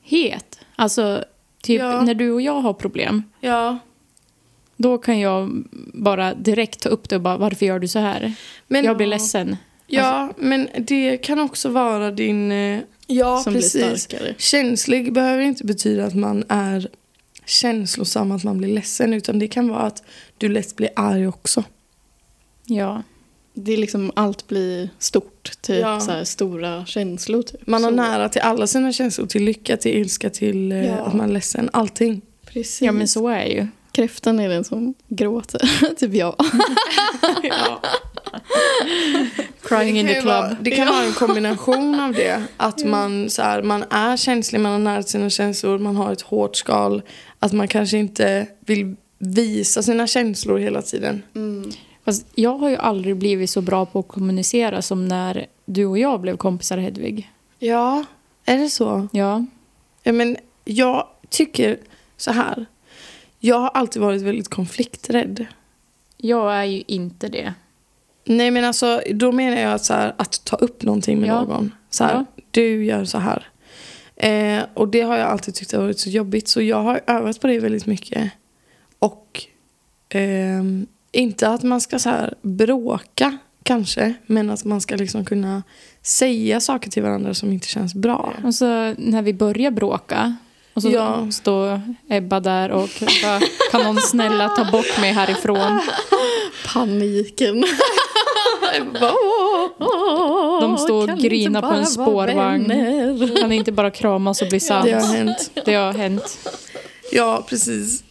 het. Alltså typ
Ja.
när du och jag har problem.
Ja.
Då kan jag bara direkt ta upp det och bara varför gör du så här?
Men,
jag blir ledsen.
Ja,
Alltså.
men det kan också vara din... eh, Ja,
som blir starkare.
Känslig behöver inte betyda att man är känslosam, att man blir ledsen. Utan det kan vara att du lätt blir arg också.
Ja.
Det är liksom allt blir stort. Typ
Ja.
så här, stora känslor. Typ.
Man har
så.
nära till alla sina känslor. Till lycka, till ilska, till eh,
Ja.
att man är ledsen. Allting.
Precis.
ja, men så är jag ju.
Kräftan är den som gråter. typ jag.
Crying in
Det kan
the
ju
club.
Vara, Mm. det kan vara en kombination av det. Att man, så här, man är känslig, man har nära till sina känslor, man har ett hårt skal. Att man kanske inte vill visa sina känslor hela tiden.
Fast jag har ju aldrig blivit så bra på att kommunicera som när du och jag blev kompisar Hedvig.
Ja, är det så?
Ja.
Ja, men jag tycker så här. Jag har alltid varit väldigt konflikträdd.
Jag är ju inte det.
Nej men alltså, då menar jag att, så här, att ta upp någonting med
Ja.
någon. Så här, Du gör så här. Eh, och det har jag alltid tyckt har varit så jobbigt. Så jag har övat på det väldigt mycket. Och ehm, inte att man ska så här, bråka kanske. Men att man ska liksom kunna säga saker till varandra som inte känns bra.
Och så när vi börjar bråka och så
Ja.
står Ebba där och bara, kan någon snälla ta bort mig härifrån?
Paniken.
De står
Kan
och
inte
grinar på
bara
en
vara
spårvagn.
vänner?
Kan inte bara kramas och bli
Det
sams?
har hänt.
Det har hänt.
Ja, precis.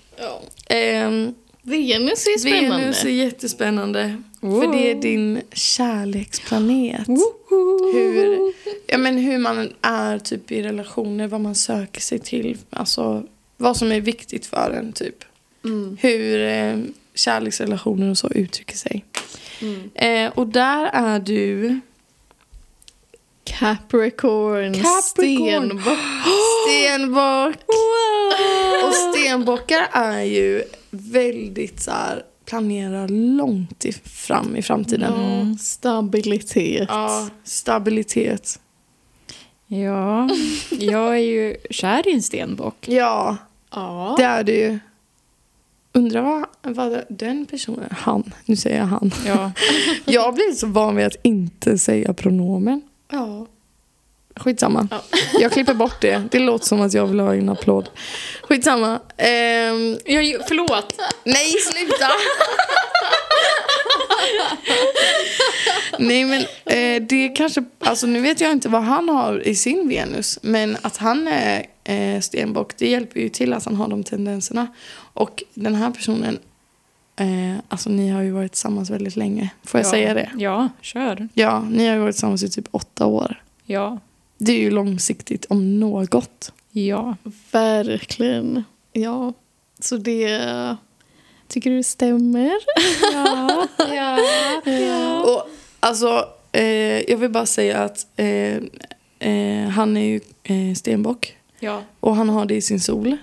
Ehm,
Venus är spännande.
Venus är jättespännande.
Wow.
För det är din kärleksplanet. Hur, ja, men hur man är typ i relationer, vad man söker sig till. Alltså vad som är viktigt för en typ.
Mm.
Hur eh, kärleksrelationer och så uttrycker sig.
Mm.
Eh, och där är du
Capricorn,
Capricorn.
stenbock.
Stenbock.
Wow!
Och stenbockar är ju väldigt så här, planerar långt i, fram i framtiden.
Ja, stabilitet.
Ja, stabilitet.
Ja, jag är ju kär i en stenbock.
Ja,
Ja.
det är det ju. Undrar vad, vad den personen, han, nu säger jag han.
Ja.
Jag har blivit så van vid att inte säga pronomen.
ja.
Skitsamma. Jag klipper bort det. Det låter som att jag vill ha en applåd. Skitsamma. Ehm,
Jag, förlåt!
nej, sluta! nej, men eh, det kanske... Alltså, nu vet jag inte vad han har i sin Venus. Men att han är eh, stenbock, det hjälper ju till att han har de tendenserna. Och den här personen... Eh, alltså, ni har ju varit tillsammans väldigt länge. Får jag
ja.
säga det?
Ja, kör.
Ja, ni har ju varit tillsammans i typ åtta år.
Ja.
Det är ju långsiktigt om något.
Ja.
Verkligen. Ja. Så det... Tycker du det stämmer?
Ja. ja. ja.
Och alltså, eh, jag vill bara säga att eh, eh, han är ju eh, stenbock
ja.
och han har det i sin sol.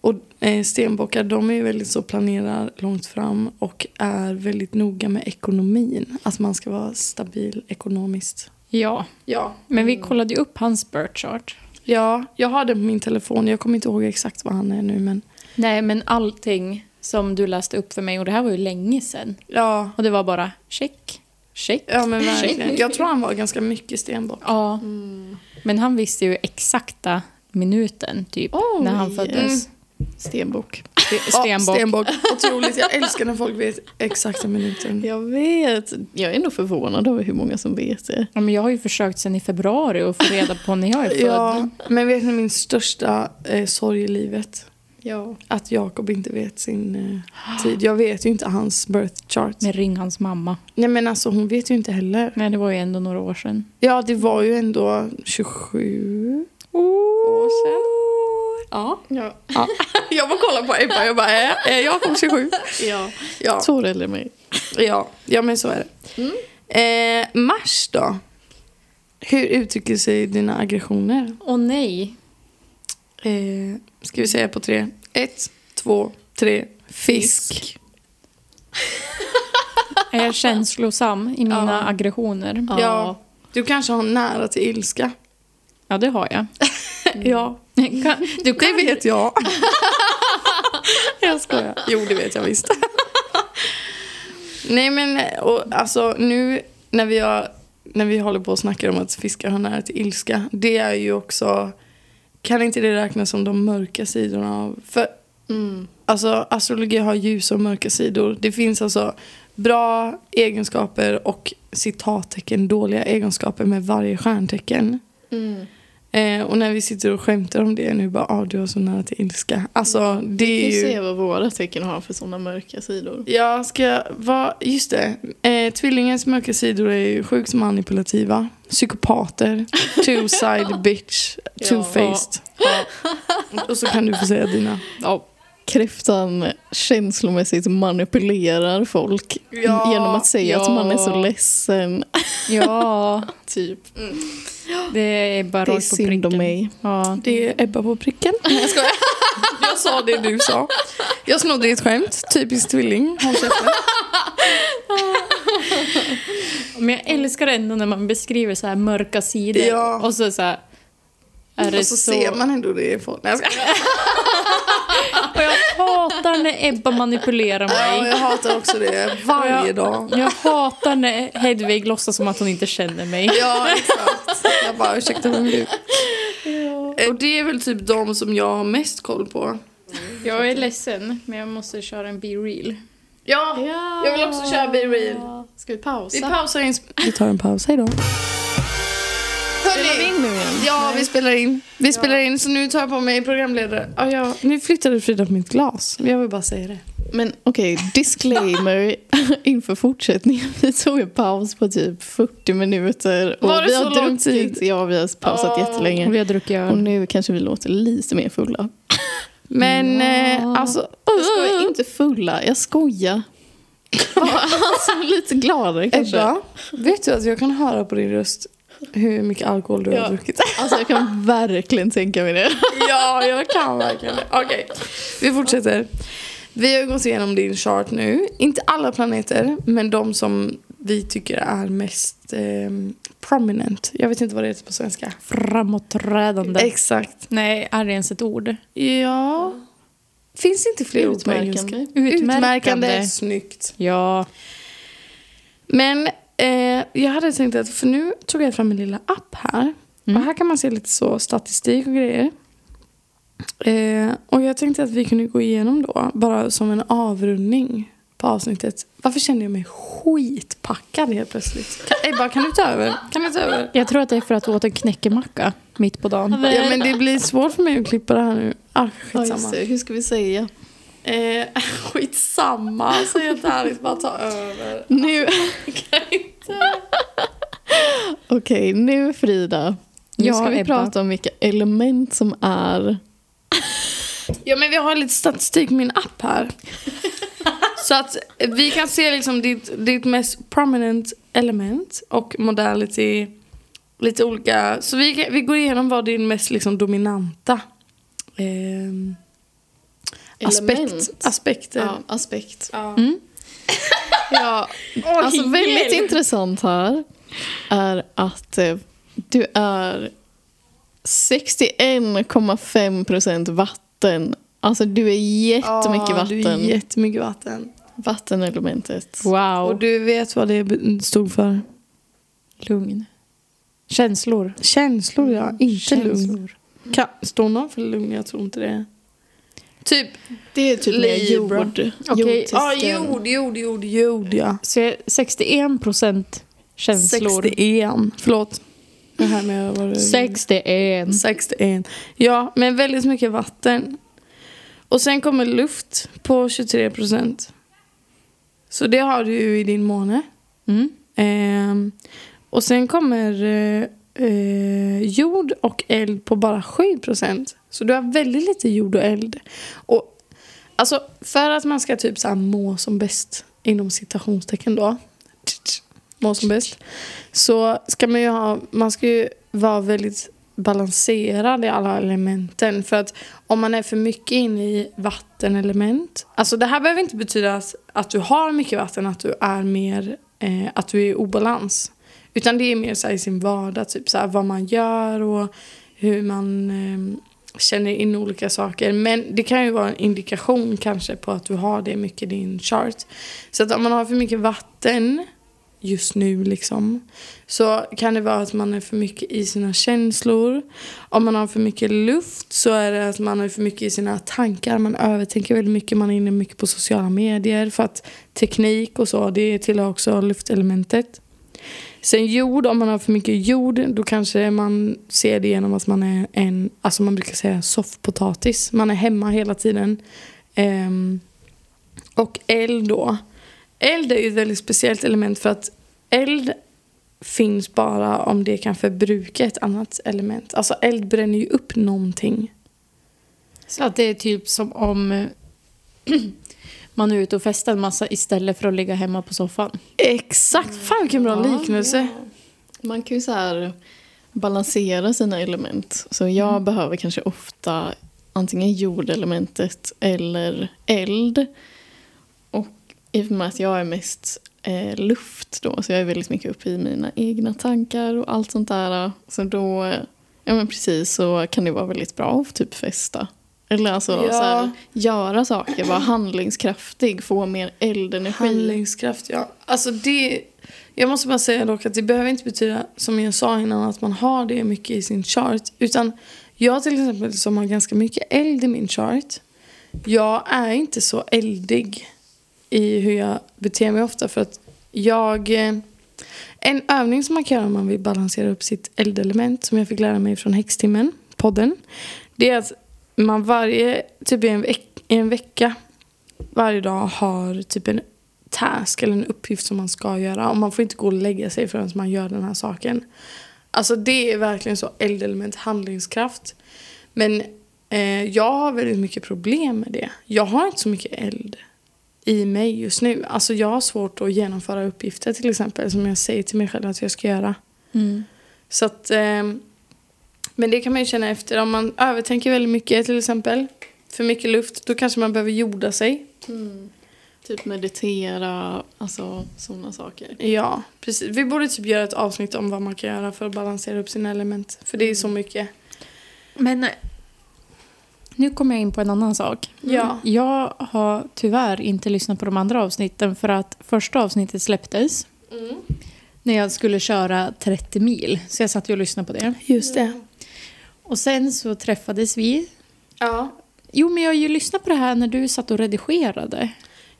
Och eh, stenbockar de är ju väldigt så planerar långt fram och är väldigt noga med ekonomin. Att man ska vara stabil ekonomiskt.
ja.
Ja.
Men vi kollade ju upp hans birth chart.
Ja, jag har den på min telefon. Jag kommer inte ihåg exakt vad han är nu men
Nej, men allting som du läste upp för mig, och det här var ju länge sedan.
ja.
Och det var bara check, check.
Ja men verkligen. Jag tror han var ganska mycket stenbock.
Ja. Mm. Men han visste ju exakta minuten, typ,
Oj.
när han föddes.
Stenbock.
Stenbock.
Ja, stenbock. Otroligt. Jag älskar när folk vet exakta minuten.
Jag vet. Jag är nog förvånad över hur många som vet det.
Ja, men jag har ju försökt sen i februari att få reda på när jag är
Alltså,
född.
Ja, men vet ni min största eh, sorg i livet?
Ja.
Att Jakob inte vet sin eh, tid. Jag vet ju inte hans birth chart.
Men ring hans mamma.
Nej men alltså hon vet ju inte heller.
Nej, det var ju ändå några år sedan.
Ja, det var ju ändå 27 år sedan. Ja.
Ja.
Jag bara kollar på Ebba jag bara, är, är Jakob 27?
ja.
Ja. Mm.
Så det är mig.
ja, ja men så är det. Eh, mars då? Hur uttrycker sig dina aggressioner?
Åh nej.
Eh, ska vi säga på tre? Ett, två, tre. Fisk.
Är jag känslosam i mina
Ja.
aggressioner?
Ja. Du kanske har nära till ilska.
Ja, det har jag.
Ja.
Kan-
Du kan... Det vet jag. jag skojar. Jo, det vet jag visst. Nej, men och, alltså nu när vi, har, när vi håller på och snackar om att fiskar har nära till ilska. Det är ju också... Kan inte det räknas som de mörka sidorna av... För Alltså astrologi har ljusa och mörka sidor. Det finns alltså bra egenskaper och citattecken dåliga egenskaper med varje stjärntecken.
Mm.
Eh, och när vi sitter och skämtar om det nu bara, ah, du har så nära till ilska. Alltså det
Vi
är
ser
ju...
vad våra tecken har för sådana mörka sidor.
Jag ska vara, just det. Eh, tvillingens mörka sidor är ju sjukt manipulativa, psykopater, two-side bitch, two-faced. Och så kan du få säga dina.
Ja. Kräftan känslomässigt manipulerar folk
Ja,
genom att säga att
ja.
man är så ledsen.
Ja,
Typ,
det är bara
det är
rakt på pricken.
synd om mig.
Ja.
Det är Ebba på pricken. Nej, jag skojar. Jag sa det du sa. Jag snodde ditt skämt. Typiskt tvilling. Håll käften.
Men jag älskar ändå när man beskriver så här mörka sidor
Ja.
och så, så här, är det
Och så, ser man ändå det i folk. Nej, jag skojar.
Och jag hatar när Ebba manipulerar
Ja,
mig.
jag hatar också det. Varje
Ja.
dag.
Jag hatar när Hedvig låtsas som att hon inte känner mig.
Ja, exakt. Jag bara, ursäkta vem är du? Eh, Och det är väl typ de som jag har mest koll på.
Jag är ledsen, men jag måste köra en be real.
Ja, jag vill också köra Be Real.
Ska vi pausa?
Vi pausar in... Vi tar en paus, hej då.
Spelar vi in nu igen?
Ja, vi spelar in. Vi spelar in, så nu tar jag på mig programledare. Ja, ja. Nu flyttade Frida på mitt glas. Jag vill bara säga det.
Men okej, disclaimer inför fortsättningen. Vi tog en paus på typ 40 minuter.
Var det
vi
så
har
lång
druckit-
tid?
Ja, vi har pausat
Åh.
jättelänge.
Vi har druckit
Och
öl.
nu kanske vi låter lite mer fulla.
Men eh, alltså...
Jag skojar, inte fulla, jag skojar. Bara, alltså, lite gladare kanske.
Ebba, vet du att jag kan höra på din röst hur mycket alkohol du
Ja.
har druckit.
Alltså jag kan verkligen tänka mig det.
ja, jag kan verkligen det. Okej, vi fortsätter. Vi har ju gått igenom din chart nu. Inte alla planeter, men de som vi tycker är mest eh, prominent. Jag vet inte vad det heter på svenska.
Framåträdande.
Exakt.
Nej, är det ens ett ord?
Ja. Finns inte fler ord på engelska?
Utmärkande.
Utmärkande. Snyggt.
Ja.
Men eh, jag hade tänkt att, för nu tog jag fram min lilla app här.
Mm.
Och här kan man se lite så statistik och grejer. Eh, och jag tänkte att vi kunde gå igenom då, bara som en avrundning på avsnittet. Varför känner jag mig skitpackad helt plötsligt? Kan, Ebba, kan du ta över? Kan du ta över?
Jag tror att det är för att du åt en knäckemacka mitt på dagen.
Ja men det blir svårt för mig att klippa det här nu. Ah,
Ja, just
skitsamma.
det. Hur ska vi säga?
Eh, skitsamma, alltså helt ärligt, bara ta över.
Nu... Okej, nu Frida. Nu
Ja,
ska vi
Ebba.
prata om vilka element som är...
Ja men vi har lite statistik i min app här. Så att vi kan se liksom ditt, ditt mest prominent element och modality. Lite olika. Så vi, kan- vi går igenom vad din mest liksom dominanta ehm, aspekt,
Element.
aspekter.
Ja, aspekt.
Ja.
Mm.
Ja, alltså väldigt intressant här är att eh, du är 61,5 procent vatten. Alltså du Ah, är jättemycket
Ja, Du är
vatten.
jättemycket vatten.
Vattenelementet.
Och
Wow.
du vet vad det be- stod för?
Lugn. Känslor.
Känslor ja, inte lugn.
Känslor.
Kan, står någon för lugn? Jag tror inte det. Typ,
Det är typ mer
Libra.
jord.
Okej.
Jordtecken.
ja jord, jord, jord, jord ja.
Så jag är 61 procent känslor.
61. Förlåt. Det här med vad det
61.
61. Ja, men väldigt mycket vatten. Och sen kommer luft på 23 procent. Så det har du ju i din måne.
Mm.
Ehm, och sen kommer eh, eh, jord och eld på bara 7 procent. Så du har väldigt lite jord och eld. Och alltså för att man ska typ så här må som bäst inom citationstecken då. Må som bäst. Så ska man ju ha, man ska ju vara väldigt balanserad i alla elementen. För att om man är för mycket inne i vattenelement. Alltså det här behöver inte betyda att, att du har mycket vatten, att du är mer, eh, att du är i obalans. Utan det är mer så här i sin vardag, typ så här vad man gör och hur man eh, känner in olika saker. Men det kan ju vara en indikation kanske på att du har det mycket i din chart. Så att om man har för mycket vatten just nu liksom så kan det vara att man är för mycket i sina känslor. Om man har för mycket luft så är det att man är för mycket i sina tankar. Man övertänker väldigt mycket, man är inne mycket på sociala medier för att teknik och så, det tillhör också luftelementet. Sen jord, om man har för mycket jord då kanske man ser det genom att man är en, alltså man brukar säga soffpotatis. Man är hemma hela tiden. Ehm, och eld då. Eld är ju ett väldigt speciellt element för att eld finns bara om det kan förbruka ett annat element. Alltså eld bränner ju upp någonting.
Så att det är typ som om eh, man är ute och festar en massa istället för att ligga hemma på soffan.
Exakt! Fan vilken bra
Ja,
liknelse.
Man kan ju så här balansera sina element. Så jag behöver kanske ofta antingen jordelementet eller eld. Och i och med att jag är mest eh, luft då, så jag är väldigt mycket uppe i mina egna tankar och allt sånt där. Så då, eh, ja men precis, så kan det vara väldigt bra att typ festa. Eller alltså
Ja.
så här, göra saker, vara handlingskraftig, få mer eldenergi.
Handlingskraft, ja. Alltså det... Jag måste bara säga dock att det behöver inte betyda, som jag sa innan, att man har det mycket i sin chart. Utan jag till exempel som har ganska mycket eld i min chart. Jag är inte så eldig i hur jag beter mig ofta för att jag... eh, En övning som man kan göra om man vill balansera upp sitt eldelement som jag fick lära mig från Häxtimmen, podden. Det är att man varje, typ i en, veck, i en vecka varje dag har typ en task eller en uppgift som man ska göra. Och man får inte gå och lägga sig förrän man gör den här saken. Alltså det är verkligen så eldelement, handlingskraft. Men eh, jag har väldigt mycket problem med det. Jag har inte så mycket eld i mig just nu. Alltså
Mm.
jag har svårt att genomföra uppgifter till exempel som jag säger till mig själv att jag ska göra. Så att, ehm, men det kan man ju känna efter. Om man övertänker väldigt mycket till exempel. För mycket luft. Då kanske man behöver jorda sig.
Typ meditera, alltså sådana saker.
Ja, precis. Vi borde typ göra ett avsnitt om vad man kan göra för att balansera upp sina element. För det är
Mm.
så mycket.
Men eh, nu kommer jag in på en annan sak.
Mm. Ja.
Jag har tyvärr inte lyssnat på de andra avsnitten för att första avsnittet släpptes
Mm.
när jag skulle köra 30 mil. Så jag satt ju och lyssnade på det.
Just det.
Och sen så träffades vi.
Ja.
Jo, men jag har ju lyssnat på det här när du satt och redigerade.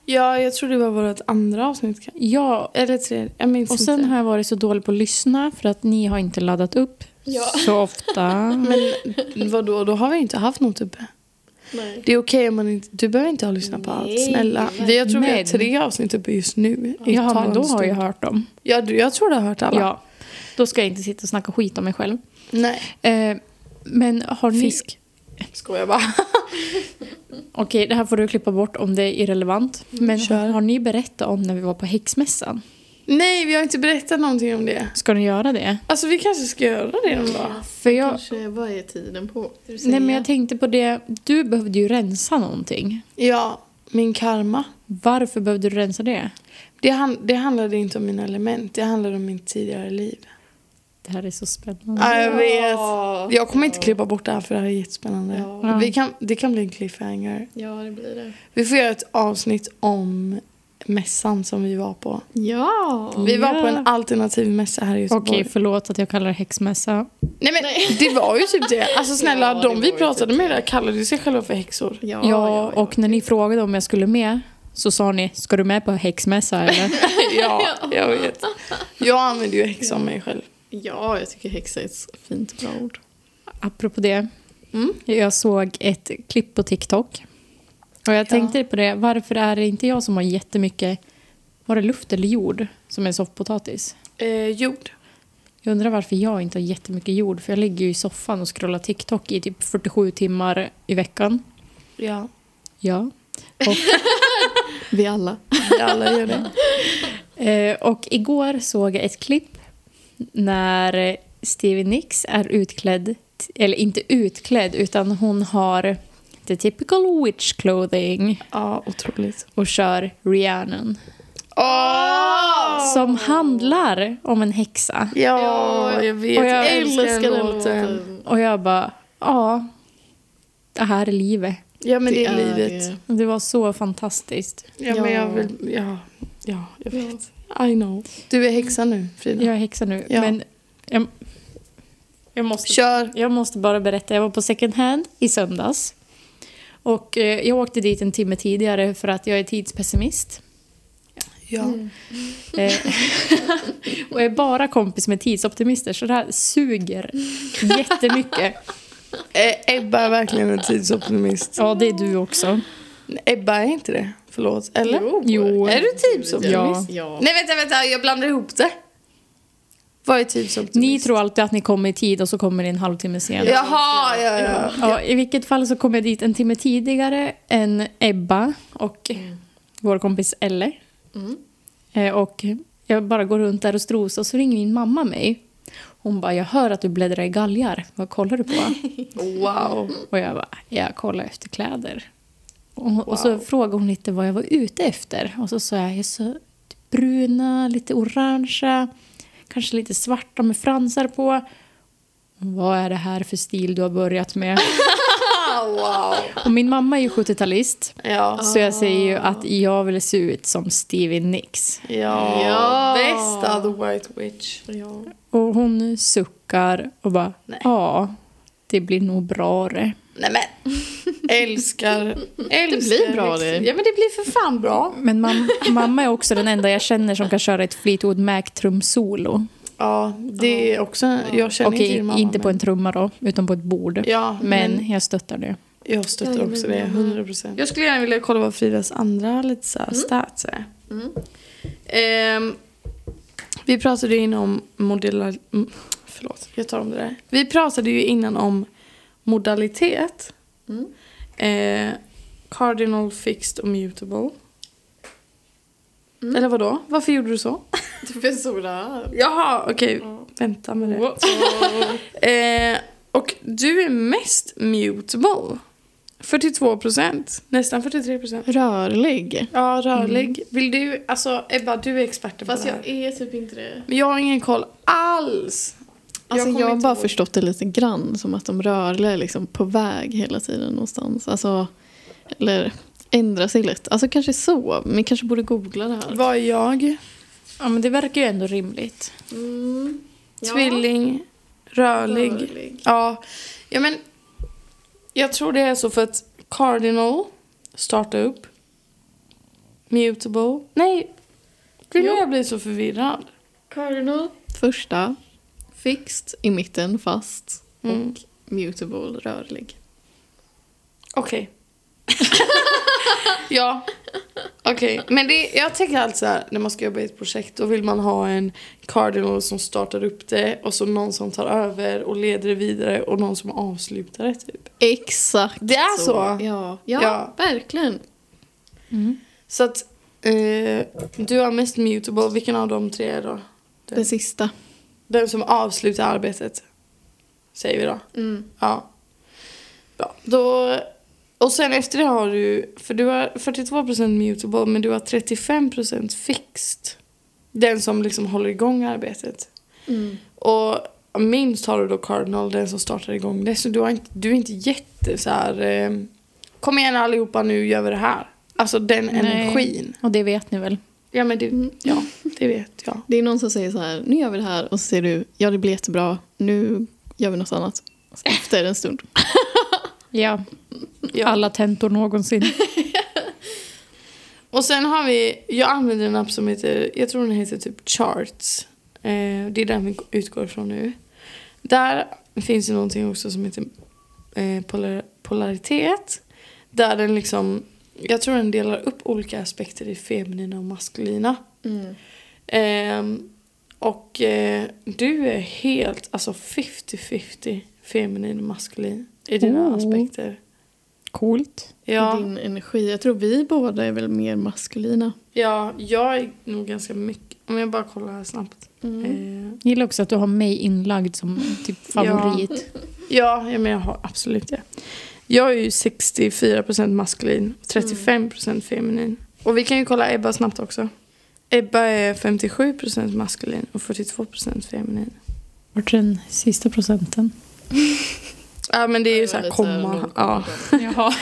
ja, jag tror det var vårt andra avsnitt. kanske.
Ja,
Eller tredje. Jag minns
och sen
inte.
har jag varit så dålig på att lyssna för att ni har inte laddat upp
Ja.
så ofta.
Men vadå, då har vi inte haft något uppe.
Nej.
Det är okej om man inte... Du behöver inte ha lyssnat på allt.
Nej.
Snälla. Vi, jag tror vi har
Men-
tre avsnitt uppe just nu. i
Jaha, men då
talande
har jag
stund.
hört dem.
Ja, du, jag tror du har hört alla.
Ja. Då ska jag inte sitta och snacka skit om mig själv.
Nej.
Eh, men har ni...
Fisk. Skojar bara.
Okej, det här får du klippa bort om det är irrelevant. Men
Mm, Kör.
har ni berättat om när vi var på häxmässan?
Nej, vi har inte berättat någonting om det.
Ska ni göra det?
Alltså vi kanske ska göra det någon dag.
För jag...
Kanske, vad är tiden på? Ska du
Nej, men
säga?
jag tänkte på det. Du behövde ju rensa någonting.
Ja, min karma.
Varför behövde du rensa det?
Det, han, det handlade inte om mina element, det handlade om mitt tidigare liv.
Det här är så spännande.
Ja, jag vet.
Ja.
Jag kommer inte klippa bort det här för det här är jättespännande.
Ja.
Vi kan, det kan bli en cliffhanger.
ja, det blir det.
Vi får göra ett avsnitt om mässan som vi var på.
Ja!
Vi var på
Ja.
en alternativ mässa här i Göteborg.
Okej, förlåt att jag kallar det häxmässa.
Nej men det var ju typ det. Alltså snälla,
Ja, det
de vi
var ju
pratade
typ
med där kallade sig själva för häxor.
Ja,
Ja, och när ni frågade om jag skulle med så sa ni, ska du med på häxmässa eller?
ja, jag vet. Jag använder ju häxa om mig själv.
Ja, jag tycker häxa är ett fint bra ord.
Apropå det,
Mm.
jag såg ett klipp på TikTok. Och jag tänkte på det, varför är det inte jag som har jättemycket, var det luft eller jord som är soffpotatis?
Eh, jord.
Jag undrar varför jag inte har jättemycket jord, för jag ligger ju i soffan och scrollar TikTok i typ 47 timmar i veckan.
Ja,
Ja.
Vi alla.
vi alla gör det.
Eh, och igår såg jag ett klipp när Stevie Nicks är utklädd, t- eller inte utklädd, utan hon har the typical witch clothing
Ja, otroligt.
och kör Rhiannon.
Åh!
Som handlar om en häxa.
Ja, jag vet.
Och jag
älskar den
Och jag bara, ja, det här är livet.
Ja, men det, är livet.
det.
Det var så fantastiskt.
Ja, men jag vill... Ja, ja jag
Ja.
vet. I know. Du är häxa nu, Frida.
Jag är häxa nu,
Ja.
men jag, jag måste
Kör!
Jag måste bara berätta, jag var på second hand i söndags. Och eh, jag åkte dit en timme tidigare för att jag är tidspessimist.
Ja.
Eh, och är bara kompis med tidsoptimister, så det här suger jättemycket.
Eh, Ebba är verkligen en tidsoptimist.
Ja, det är du också.
Ebba är inte det. Förlåt. Eller?
Jo.
Är du tidsoptimist?
Ja.
ja.
Nej, vänta, vänta. Jag blandar ihop det. Vad är tidsoptimist?
Ni tror alltid att ni kommer i tid och så kommer ni en halvtimme sen.
Jaha, ja, ja.
Ja, I vilket fall så kom jag dit en timme tidigare än Ebba och vår kompis Elle. Eh, Och jag bara går runt där och strosar och så ringer min mamma mig. Hon bara, jag hör att du bläddrar i galgar. Vad kollar du på?
Wow.
och jag bara, jag kollar efter kläder. Och, och så frågade hon lite vad jag var ute efter. Och så sa jag, jag så bruna, lite orangea, kanske lite svarta med fransar på. Vad är det här för stil du har börjat med?
Ah, wow.
Och min mamma är ju 70-talist.
Ja.
Så jag säger ju att
Ah.
jag vill se ut som Stevie Nicks.
Ja.
Ja.
Bästa The White Witch.
Ja.
Och hon suckar och bara,
Nej.
ja, det blir nog bra det.
Nej men. Älskar. älskar
blir bra det.
Ja men det blir för fan bra.
Men mam- mamma är också den enda jag känner som kan köra ett Fleetwood Mac-trumsolo.
Ja, det är också. Jag känner
Okej,
inte din mamma.
inte på
men-
en trumma då, utan på ett bord.
Ja,
men, jag stöttar det.
jag stöttar också det. 100 procent. Jag skulle gärna vilja kolla vad Fridas andra lite så här stats är. Ehm, vi pratade ju innan om modelar... mm, Förlåt, jag tar om det där. Vi pratade ju innan om modalitet.
Mm.
Eh, Mm. cardinal, fixed och mutable. Eller vadå? Varför gjorde du så?
Typ en solarm.
Jaha, okej.
Ja.
Vänta med det.
Wow.
Eh, och du är mest mutable. 42 procent. Nästan 43 procent.
Rörlig.
Ja, rörlig. Vill du, alltså Ebba, du är experten
Fast
på det här.
jag är typ inte det.
Men jag har ingen koll alls.
Alltså
kommer
jag, har
inte
bara
ihåg.
förstått det lite grann som att de rörliga är liksom på väg hela tiden någonstans. Alltså, eller ändrar sig lätt. Alltså kanske så. Men kanske borde googla det här.
Vad är jag?
Ja, men det verkar ju ändå rimligt.
Mm. Ja.
Tvilling. Rörlig.
Rörlig.
Ja. ja, men jag tror det är så för att Cardinal, starta upp. Mutable. Nej, det är
Jo.
nu jag blir så förvirrad.
Cardinal. Första. Fixed. I mitten fast.
Mm.
Och mutable. Rörlig.
Okej. ja. Okej, men det, jag tänker alltid så här, när man ska jobba i ett projekt då vill man ha en cardinal som startar upp det och så någon som tar över och leder det vidare och någon som avslutar det typ.
Exakt
Det är så.
Ja. Ja,
Ja.
verkligen.
Mm.
Så att eh, du har mest mutable, vilken av de tre är då?
Den, sista.
Den som avslutar arbetet. Säger vi då. Ja. Bra. Då, och sen efter det har du, för du har 42% mutable men du har 35% fixed. Den som liksom håller igång arbetet.
Mm.
Och minst har du då cardinal, den som startar igång det. Så du, har inte, du är inte jätte så här, eh, kom igen allihopa nu gör vi det här. Alltså den
Nej.
energin.
Och det vet ni väl?
Ja men det,
Mm.
ja, det vet jag.
Det är någon som säger så här, nu gör vi det här och så säger du, ja det blir jättebra, nu gör vi något annat. Efter en stund.
Ja.
Ja.
Alla tentor någonsin.
Och sen har vi, jag använder en app som heter, jag tror den heter typ Charts. Eh, det är den vi utgår ifrån nu. Där finns det någonting också som heter eh, polar, polaritet. Där den liksom, jag tror den delar upp olika aspekter i feminina och maskulina. Ehm, och eh, du är helt, alltså 50-50 feminin och maskulin i dina
Oh.
aspekter.
Coolt.
Ja.
Din energi, jag tror vi båda är väl mer maskulina.
Ja, jag är nog ganska mycket... Om jag bara kollar här snabbt. Eh,
Jag gillar också att du har mig inlagd som typ favorit.
ja, ja, men jag har absolut det. Jag är ju 64% maskulin, 35% feminin. Och vi kan ju kolla Ebba snabbt också. Ebba är 57% maskulin och 42% feminin.
Vart är den sista procenten?
Ja, men det är ju
Jag
så här
lite så här
komma.
noll-
Ja.
Jaha.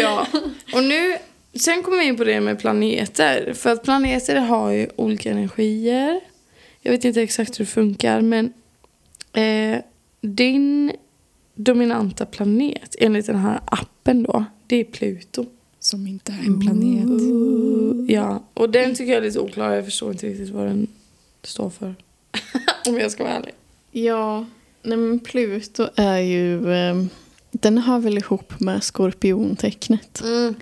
Ja, och nu... Sen kommer vi in på det med planeter. För att planeter har ju olika energier. Jag vet inte exakt hur det funkar, men... Eh, din dominanta planet, enligt den här appen då, det är Pluto.
Som inte är en planet.
Ja, och den tycker jag är lite oklar. Jag förstår inte riktigt vad den står för. Om jag ska vara ärlig.
Ja, nej men Pluto är ju, eh, den hör väl ihop med skorpiontecknet.
Mm,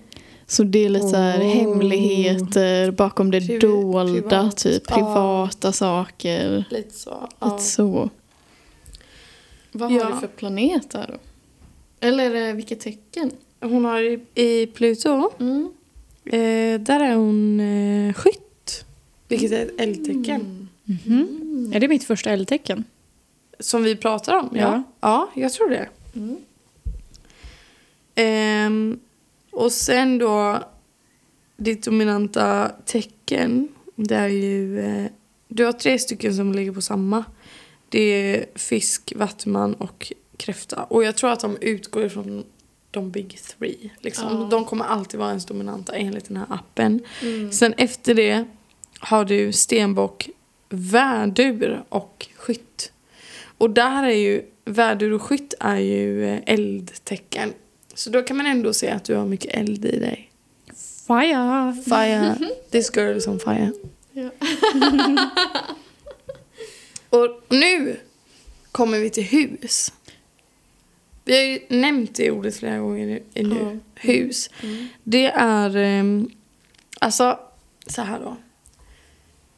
Så det är lite så här
Oh.
hemligheter bakom det
Privi-
dolda,
privat.
typ
Ja.
privata saker.
Lite så.
Lite så. Vad
Ja.
har du för planet där då? Eller eh, vilket tecken? Mm.
Hon har i, i Pluto, eh, där är hon eh, skytt. Mm. Vilket är ett eldtecken.
Mm.
Mhm. Är det mitt första eldtecken?
Som vi pratar om, ja.
Ja.
Ja, jag tror det.
Mm.
Ehm, och sen då, ditt dominanta tecken, det är ju... Eh, du har tre stycken som ligger på samma. Det är fisk, vattuman och kräfta. Och jag tror att de utgår ifrån de big three. Liksom.
Ja.
De kommer alltid vara ens dominanta enligt den här appen. Sen efter det har du stenbock, värdur och skytt. Och där är ju, värdur och skytt är ju eh, eldtecken. Så då kan man ändå se att du har mycket eld i dig.
Fire!
Fire, this girl is on fire.
Ja.
och nu kommer vi till hus. Vi har ju nämnt det ordet flera gånger nu. i nu.
Ja.
Hus. Det är... ehm, Alltså, så här då.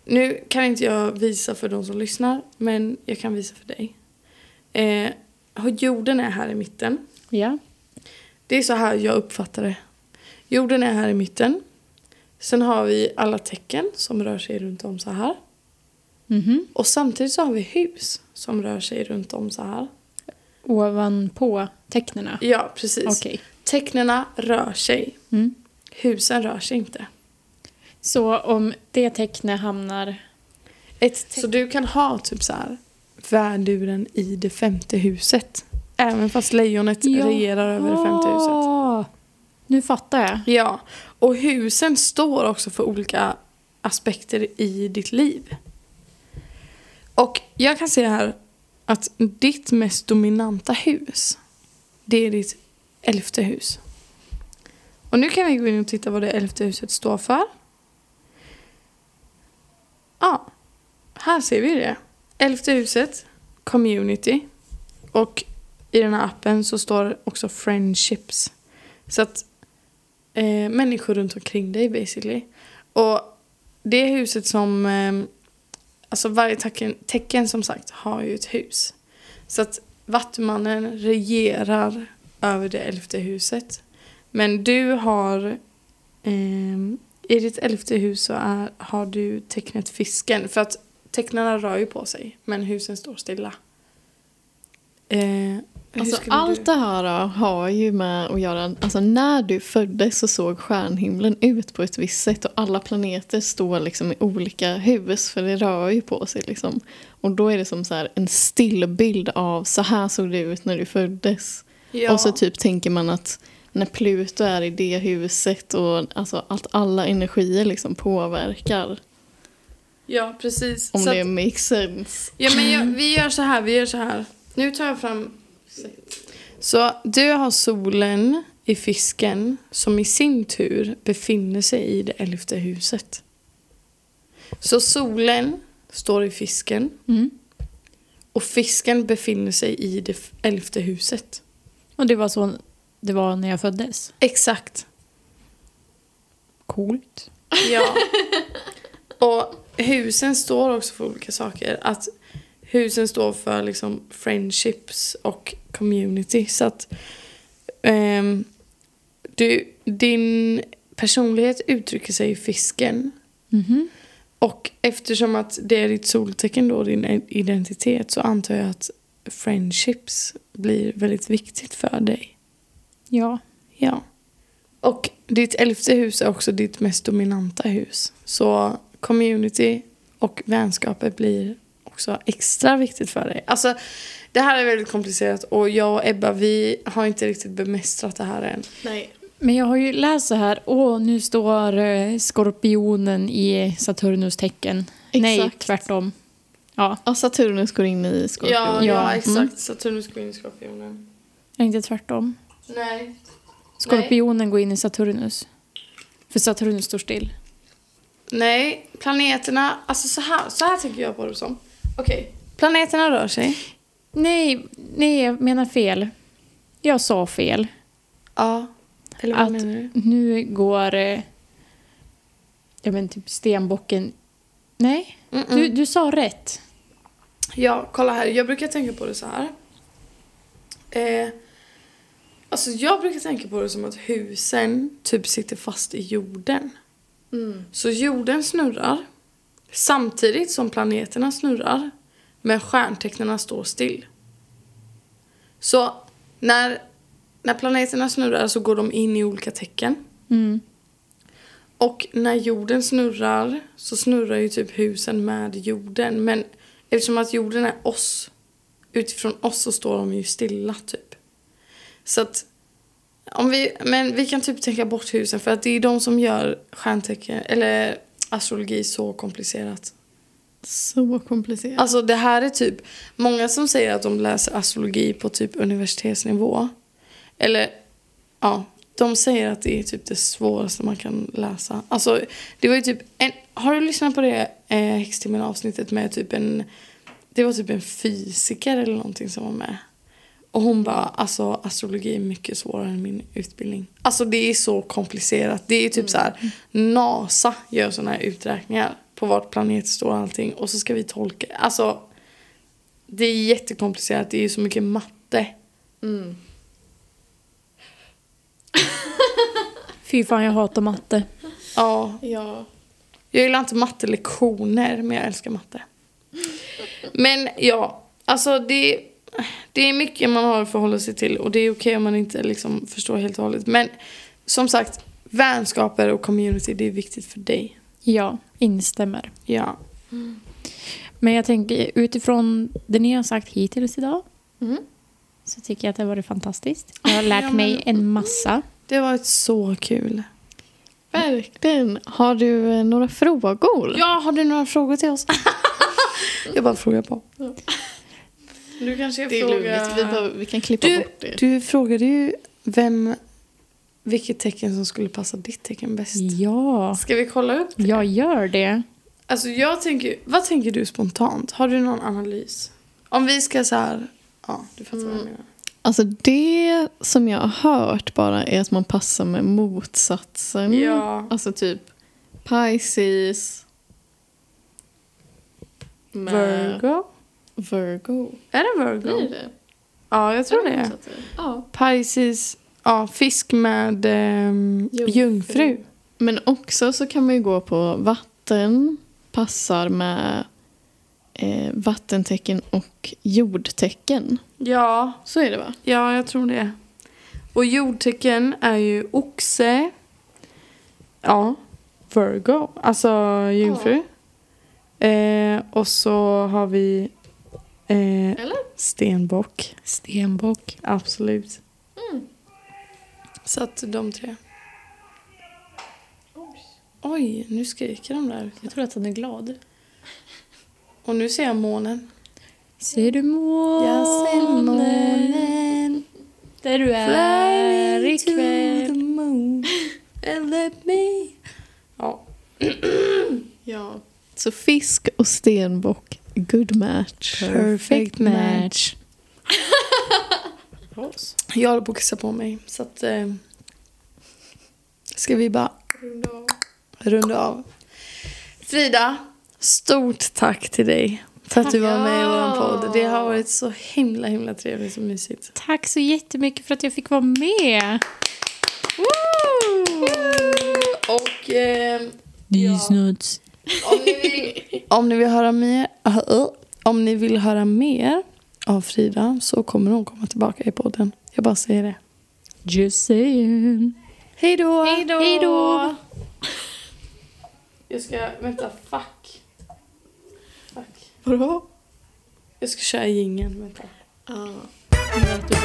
Nu kan inte jag visa för de som lyssnar, men jag kan visa för dig. Eh, jorden är här i mitten.
Ja.
Det är så här jag uppfattar det. Jorden är här i mitten. Sen har vi alla tecken som rör sig runt om så här.
Mhm.
Och samtidigt så har vi hus som rör sig runt om så här.
Ovanpå tecknena?
Ja, precis.
Okej.
Tecknena rör sig.
Mm.
Husen rör sig inte.
Så om det tecknet hamnar...
så du kan ha typ så här värduren i det femte huset. Även fast lejonet
Ja.
regerar över det femte huset.
Ah, Nu fattar jag.
Ja, och husen står också för olika aspekter i ditt liv. Och jag kan säga här att ditt mest dominanta hus, det är ditt elfte hus. Och nu kan vi gå in och titta vad det elfte huset står för. Ja, här ser vi det. Elfte huset, community. Och i den här appen så står också friendships. Så att eh, människor runt omkring dig basically. Och det huset som, eh, alltså varje tecken, tecken som sagt har ju ett hus. Så att Vattumannen regerar över det elfte huset. Men du har, ehm, i ditt elfte hus så är, har du tecknet fisken. För att tecknarna rör ju på sig men husen står stilla. Eh, hur
Alltså,
skulle
allt
du...
det här då, har ju med att göra... Alltså, när du föddes så såg stjärnhimlen ut på ett visst sätt och alla planeter står liksom i olika hus för det rör ju på sig. Liksom. Och då är det som så här, en stillbild av så här såg det ut när du föddes.
ja.
Och så typ tänker man att när Pluto är i det huset och alltså, att alla energier liksom påverkar.
ja, precis.
Om
Så
det
att-
makes sense.
Ja, men jag, vi gör så här, vi gör så här. Nu tar jag fram... Så du har solen i fisken som i sin tur befinner sig i det elfte huset. Så solen står i fisken
Mm.
och fisken befinner sig i det f- elfte huset.
Och det var så det var när jag föddes.
Exakt.
Coolt.
Ja. Och husen står också för olika saker. Att husen står för liksom friendships och community. Så att ehm, du, din personlighet uttrycker sig i fisken.
Mhm.
Och eftersom att det är ditt soltecken då, din identitet, så antar jag att friendships blir väldigt viktigt för dig.
Ja.
Ja. Och ditt elfte hus är också ditt mest dominanta hus. Så community och vänskaper blir också extra viktigt för dig. Alltså, det här är väldigt komplicerat och jag och Ebba vi har inte riktigt bemästrat det här än.
Nej.
Men jag har ju läst så här, åh nu står eh, skorpionen i Saturnus tecken. Nej,
Exakt.
tvärtom. Ja,
Ja, Saturnus går in i Skorpion.
Ja, ja
ja,
exakt.
mm.
Saturnus går in i skorpionen.
är det inte tvärtom.
Nej.
Skorpionen går in i Saturnus. För Saturnus står still.
Nej, planeterna, alltså så här, så här tänker jag på det som. Okej, planeterna rör sig.
Nej, nej, jag menar fel. Jag sa fel.
Ja. Eller vad
Att-
menar du?
Nu går... eh, Ja men typ stenbocken... Nej,
Mm-mm.
du, du sa rätt.
Ja, kolla här. Jag brukar tänka på det så här. Eh, alltså jag brukar tänka på det som att husen typ sitter fast i jorden. Så jorden snurrar samtidigt som planeterna snurrar men stjärntecknarna står still. Så när, när planeterna snurrar så går de in i olika tecken.
Mm.
Och när jorden snurrar så snurrar ju typ husen med jorden. Men eftersom att jorden är oss, utifrån oss så står de ju stilla typ. Så att, om vi, men vi kan typ tänka bort husen för att det är de som gör stjärntecken, eller astrologi så komplicerat.
Så komplicerat.
Alltså det här är typ, många som säger att de läser astrologi på typ universitetsnivå. Eller ja, de säger att det är typ det svåraste man kan läsa. Alltså det var ju typ en, har du lyssnat på det eh, häxtimmen avsnittet med typ en, det var typ en fysiker eller någonting som var med. Och hon bara, alltså astrologi är mycket svårare än min utbildning. Alltså det är så komplicerat. Det är typ så här, NASA gör sådana här uträkningar på vart planet står och allting. Och så ska vi tolka, alltså det är jättekomplicerat. Det är ju så mycket matte.
Mm.
Fy fan, jag hatar matte.
Ja.
Ja.
Jag gillar inte mattelektioner, men jag älskar matte. Men ja, alltså det, det är mycket man har att förhålla sig till och det är okej om man inte liksom förstår helt och hållet. Men som sagt, vänskaper och community, det är viktigt för dig.
Ja, instämmer.
Ja.
Men jag tänker utifrån det ni har sagt hittills idag
Mm.
så tycker jag att det har varit fantastiskt. Jag har lärt
Ja,
mig
men-
en massa.
Det har varit så kul.
Verkligen. Har du eh, några frågor?
Ja, har du några frågor till oss? jag bara frågar på. Du kanske
Det är lugnt. Vi, behöver- vi kan klippa
Du,
bort det.
du frågade ju vem, vilket tecken som skulle passa ditt tecken bäst.
Ja,
Ska vi kolla upp?
jag gör det.
Alltså jag tänker, vad tänker du spontant? Har du någon analys? Om vi ska så här, ja du fattar vad jag menar.
Alltså det som jag har hört bara är att man passar med motsatsen.
Ja.
Alltså typ Pisces. med-
Virgo?
Virgo.
Är det Virgo?
Blir det?
Ja, jag tror det.
Ja.
Pisces, ja fisk med ehm,
Jungfru.
jungfru.
Men också så kan man ju gå på vatten. Passar med eh, vattentecken och jordtecken.
Ja,
Så är det va?
ja jag tror det. Och jordtecken är ju oxe. Ja, Virgo, alltså jungfru. Eh, och så har vi eh,
Eller?
stenbock.
Stenbock.
Absolut. Mm. Så att de tre. Oj, nu skriker de där.
Jag tror att han är glad.
Och nu ser jag månen.
Ser du månen? Där du är ikväll.
moon and let me... Ja.
Ja. Så fisk och stenbock, good match.
Perfect
match.
Jag håller på att kissa på mig. Så att... Eh, ska vi bara runda av? Frida, stort tack till dig för att du var med i vår podd. Det har varit så himla, himla trevligt och mysigt.
Tack så jättemycket för att jag fick vara med.
Och eh,
Dysnuts.
om, ni vill, om ni vill höra mer Om ni vill höra mer av Frida så kommer hon komma tillbaka i podden. Jag bara säger det.
Just saying.
Hej då!
Hej då!
Jag ska, vänta, fuck. fuck.
Bra.
Jag ska köra jingeln, vänta.
Ja.